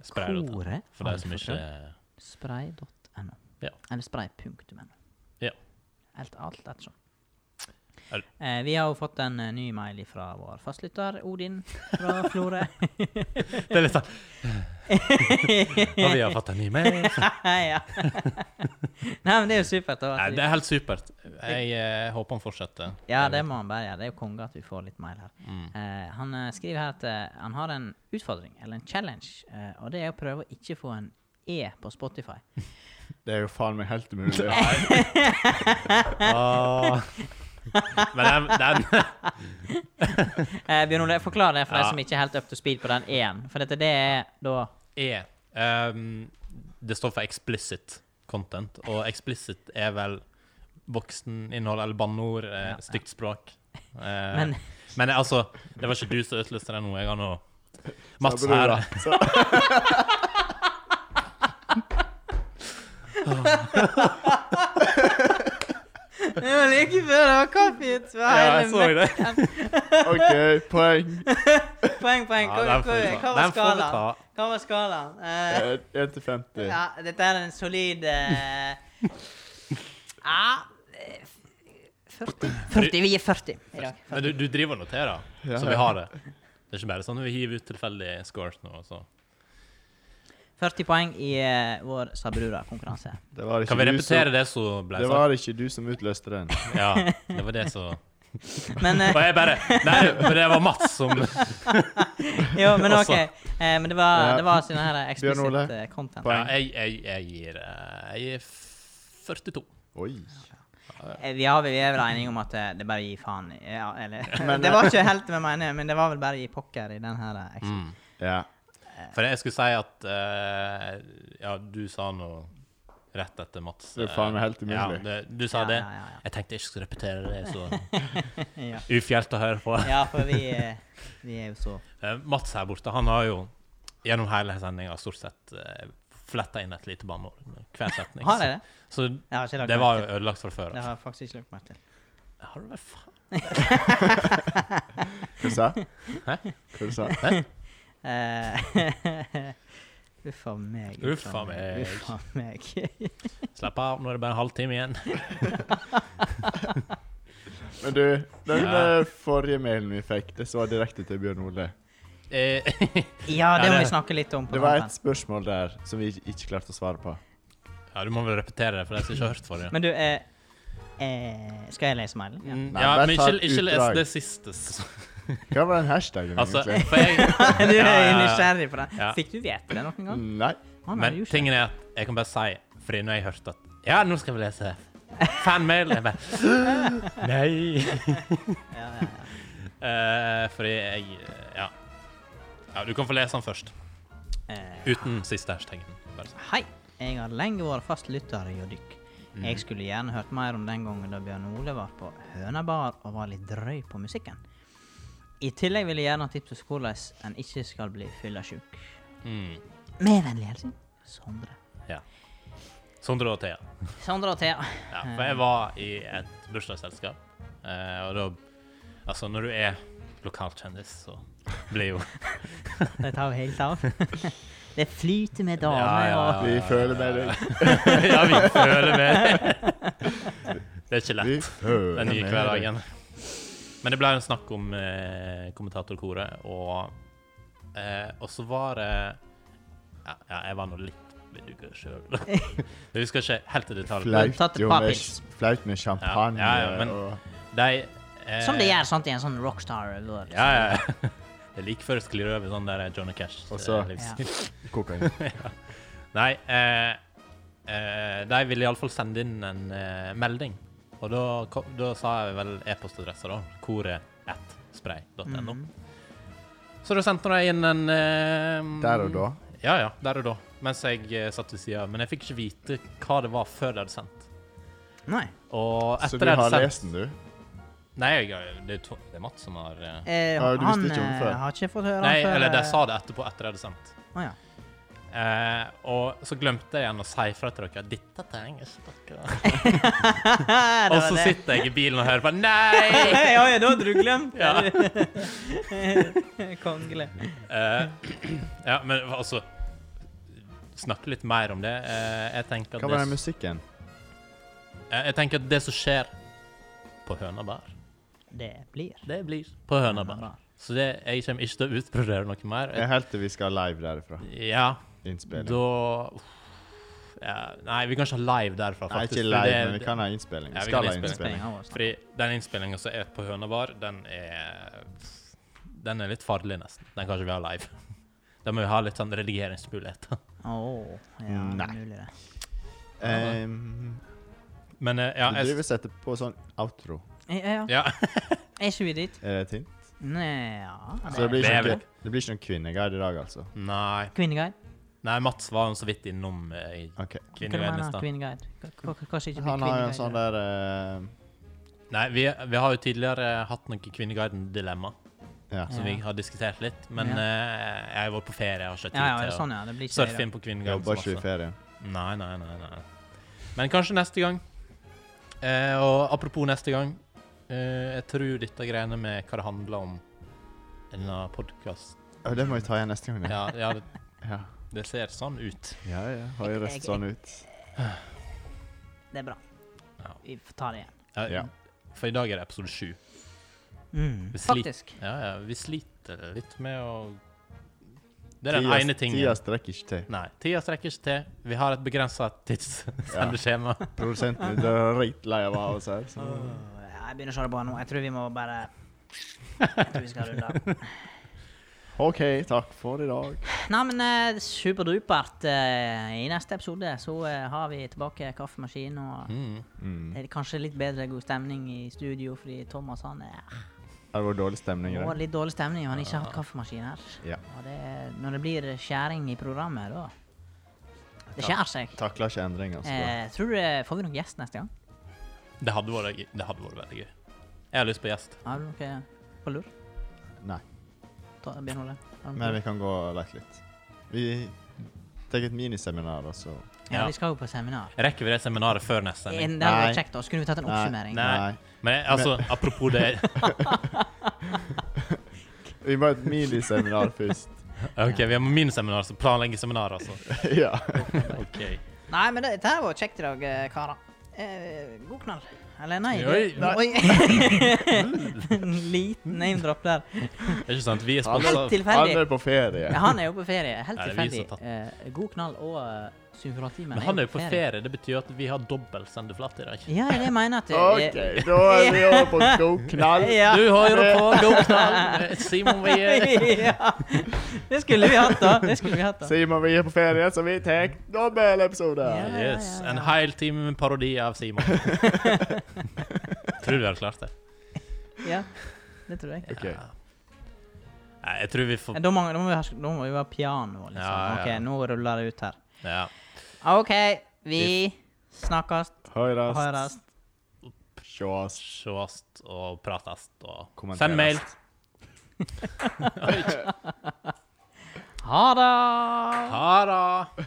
Sprer dot- Koret For de som ikke Spray.no. Ja. Eller spray.no. Ja. Helt alt ettersom. Er- Eh, vi har jo fått en eh, ny mail fra vår fastlytter Odin (laughs) fra Florø. (laughs) Det er litt sånn Og vi har fått en ny mail. (laughs) ja. Nei, men det er jo supert. da, at Nei, vi- det er helt supert. Jeg eh, håper han fortsetter. Ja, det må han bare gjøre. Det er jo konge at vi får litt mail her. Mm. Eh, han eh, skriver her at eh, han har en utfordring, eller en challenge, eh, og det er å prøve å ikke få en E på Spotify. Det er jo faen meg helt umulig. (laughs) Ah. Men den, den Eh, Bjørn Ole, forklar det for Ja. de som ikke er helt up to speed på den E-en. For dette det er da E ehm, Det står for explicit content, og explicit er vel vokseninnhold eller banneord, eh, Ja, ja. stygt språk. Eh, Men men altså, det var ikke du som utløste det nå. Jeg har nå Mats Så her. bra. Så- (laughs) Det var like før det var kaffeut! Ja, jeg så det. OK, poeng. Poeng, poeng. Hva, Ja, den får hva, vi hva ta. Den får vi var skalaen? ta. Hva var skalaen? Eh, 1 til 50. ja, dette er en solid eh, Ja eh, 40. 40. Vi gir 40 i dag. Men du, du driver og noterer, Ja, så ja. vi har det. Det er ikke bare sånn at vi hiver ut tilfeldige scores nå. Så. 40 poeng i eh, vår (laughs) Sabrura-konkurranse. Det var ikke Kan vi du som- repetere det altså? som ble Det sagt? var ikke du som utløste den. Ja, det var det som Men eh, Og jeg bare Nei, for det var Mats som (laughs) Jo, men OK. Også. Eh, men det var, Ja. det var sånn her explicit Ole. eh, content. ja, jeg, jeg, jeg gir eh, Jeg gir 42. Oi. Eh, Vi, har, vi er vel enige om at eh, det bare gir faen. i- Ja, eller (laughs) Men, (laughs) eh, Det var ikke helt det vi mener, men det var vel bare gi pokker i den her. eh, eks- Mm. Ja. For jeg skulle si at eh, Ja, du sa noe rett etter Mats. eh, Det er faen meg helt Ja, umulig. det, du sa ja, det. Ja, ja, Jeg tenkte jeg ikke skulle repetere det, (laughs) så ja. ja. ufjelt å høre på. ja, for vi, eh, vi er jo så Eh, Mats her borte, han har jo gjennom hele sendinga stort sett uh, fletta inn et lite banneord. Hver setning. Har jeg det? Så Jeg har ikke lagt det merke var jo til. ødelagt fra før Det av. har jeg faktisk ikke lagt merke til. (laughs) Har du vel faen Hva du sa Hæ? Hva du? sa? Eh, (laughs) Uff a meg. Uff a meg. Uff a meg. (laughs) Slapp av, nå er det bare en halvtime (laughs) igjen. Men du, den Ja. eh, forrige mailen vi fikk, det var direkte til Bjørn Ole. Eh, ja, det Ja, må vi det- snakke litt om. på Det var tampen. et spørsmål der som vi ikke klarte å svare på. ja, du må vel repetere det, for de som ikke har hørt forrige. Men du, eh, eh, skal jeg lese mailen? Ja. Mm, Nei, Ja, bare men ta ikke, et ikke les utdrag. det siste. s- Hva var den (laughs) hashtagen, Altså, egentlig? for jeg (laughs) du er Ja, ja, ja. nysgjerrig på det. Ja. Mm. Fikk du vite det noen gang? Nei. Han har Men jo ikke. tingen er at jeg kan bare si, fordi når jeg hørte at Ja, nå skal vi lese fanmail, jeg bare (gasps) Nei. (laughs) Ja, ja, ja. (laughs) Eh, fordi jeg Ja. ja. Du kan få lese den først. Eh, Uten siste hashtagen. Bare så. Hei, jeg har lenge vært fast lytter hos dykk. Mm. Jeg skulle gjerne hørt mer om den gangen da Bjørn Ole var på hønebar og var litt drøy på musikken. I tillegg vil jeg gjerne ha tips til hvordan en ikke skal bli fyllesyk. Mm. Med vennlig hilsen Sondre. Ja. Sondre og Thea. Sondre og Thea. (laughs) Ja, for jeg var i et bursdagsselskap, eh, og da Altså, når du er lokalkjendis, så blir (laughs) jo Det tar jo helt av. (laughs) Det flyter med damer Ja, ja, og Vi (laughs) føler med deg. Ja, vi føler (laughs) med. Det er ikke Vi lett, føler den nye med deg. hverdagen. Men det ble en snakk om eh, kommentatorkoret, og eh, Og så var det ja, ja, jeg var nå litt bedugga sjøl. (laughs) Jeg husker ikke helt i detalj. men Tatt Flaut, et jo, par med, pils. flaut med champagne Ja, ja, ja, men- og De eh, Som det gjør sant, i en sånn rockstar-world. Ja, ja. ja. (laughs) Det er like før det sklir over sånn der Johnny Cash. Og så- eh, livsstil. kokain. (laughs) Nei, eh, eh, de ville iallfall sende inn en eh, melding. Og da, kom, da sa jeg vel e-postadressa, da. Koret1spray.no. Mm. Så da sendte de inn en eh, (laughs) Der og da. Ja, ja. Der og da. Mens jeg eh, satt ved sida. Men jeg fikk ikke vite hva det var før de hadde sendt. Nei. Og etter Så de du hadde har sendt lest den, du? Nei, jeg, det, er to, det er Mats som har eh, Eh, Ja, du visste han ikke om det eh, før. har ikke fått høre Nei, han før. eller de eh, (laughs) sa det etterpå, etter de hadde sendt. Å ja. Eh, og så glemte jeg igjen å si fra til dere at dette trenger ikke (laughs) dere. Det Og var så det. sitter jeg i bilen og hører på. Nei! ja, ja, da hadde du (laughs) glemt (laughs) Ja. det. Kongelig. Eh, ja, men altså Snakke litt mer om det. Eh, jeg, tenker Hva at var det den musikken? eh, jeg tenker at det som skjer på Hønabar, Det blir det blir på Hønabar. bra. Så det, jeg kommer ikke til å utbrodere noe mer. Jeg er helt til vi skal live derifra. Ja, Innspilling. da ja, Nei, vi kan ikke ha live derfra, Nei, faktisk. ikke for live, det- men vi kan ha innspilling. Ja, Vi vi skal kan ha Innspilling innspilling. av oss. Fordi den innspillinga som er på Hønabar, den er Den er litt farlig, nesten. Den kan ikke vi ha live. (laughs) Da må vi ha litt sånn redigeringsmuligheter. Åh, ja, det Nei. er mulig, det. Ehm, (laughs) Men eh, ja, du driver og setter på sånn outro. Eh, Ja, ja. ja. (laughs) Er ikke vi dit? Er det et hint? Nei, ja. Så det blir Det ikke, er noen- det blir ikke noen kvinneguide i dag, altså. Nei. Kvinneguide? Nei, Mats var jo så vidt innom eh, i Hva Ok. du mener Kvinneguidene. kvinneguide? Hva- hva- hva- Kanskje ikke blir Han har jo en kvinneguide? sånn der eh, Nei, vi, vi har jo tidligere hatt noen Kvinneguiden-dilemma Ja. som vi Ja. har diskutert litt, men Ja. eh, jeg har vært på ferie, jeg har ikke tid Ja, ja, det til er å sånn, ja. Det blir ikke surfe inn på Jobber ikke i Kvinneguiden. ferien. Nei, nei, nei, nei. Men kanskje neste gang. Eh, og apropos neste gang, eh, jeg tror dette greiene med hva det handler om i denne podkasten Å, det må vi ta igjen neste gang. da. ja, ja, det, Ja. det ser sånn ut. ja, ja. Har jo røst sånn ut. Det er bra. Ja. Vi får ta det igjen. Eh, Ja. For i dag er det episode sju. Mm, Vi sliter. faktisk. Ja, ja, vi sliter litt med å Det er den Tida- ene tingen. Tida strekker ikke til. Nei, tida strekker ikke til. Vi har et begrensa tidssendeskjema. Produsenten er dritlei av å ha oss her. Så. Åh, jeg begynner å kjøre på nå. Jeg tror vi (laughs) må bare Jeg tror vi skal runde av. OK, takk for i dag. Nei, men eh, superdupert. eh, I neste episode så eh, har vi tilbake kaffemaskin og Mm. Mm. det er kanskje litt bedre god stemning i studio fordi Thomas han er Har det vært dårlig stemning i Det var dag? litt dårlig stemning, og han har ikke hatt kaffemaskin her. Ja. Og det, når det blir skjæring i programmet, da Det skjærer seg. Takler ikke endringer. så bra. Eh, tror du eh, Får vi noen gjest neste gang? Det, hadde vært, gøy- det hadde vært veldig gøy. Jeg har lyst på gjest. Har du noe på lur? Nei. Ta, begynn Ole. Har du noe på Men lur? vi kan gå og leke litt. Vi tar et miniseminar, altså. og så Ja, Ja. vi skal jo på seminar. Rekker vi det seminaret før neste sending? En, det hadde Nei. vært kjekt, da. Så kunne vi tatt en Nei. oppsummering. Nei. Men jeg- altså, apropos det Vi må ha et (laughs) miniseminar først. (laughs) OK, vi har miniseminar, så planleggeseminar, altså. ja. OK. Nei, men det, dette her var kjekt i dag, eh, karer. Eh, god knall. Eller nei. Oi, det- nei. (laughs) En (laughs) Liten name-drop der. Det er ikke sant? Vi er Helt sponsa tilfeldig. Han er på ferie. Ja, han er jo på ferie. Helt Ja, det er vi tilfeldig. som Eh, god knall og uh, Symfonatimen. Men han er jo på ferie. Det betyr at vi har dobbel sendeflate i dag. Ja, det er det jeg (laughs) mener at OK, da er vi over på god (laughs) knall. Ja. Du hører på (laughs) Goknall! Simon Wie. ja. Det skulle vi hatt, da. Det skulle vi hatt (laughs) da. Simon vi er på ferie, så vi tar dobbelepisode. Ja. Yes. En hel time med parodi av (laughs) Simon. Tror du vi hadde klart det? Ja, det tror jeg. Ok. Ja. Nei, jeg tror vi får Eh, Da må, da må, vi, ha, da må vi ha piano, liksom. Ja, ja. OK, nå ruller det ut her. Ja. OK, vi snakkes, Høres. høres. Sjås. Sjåast og pratast og Kommenterast. Send mail. Ha det! Ha det!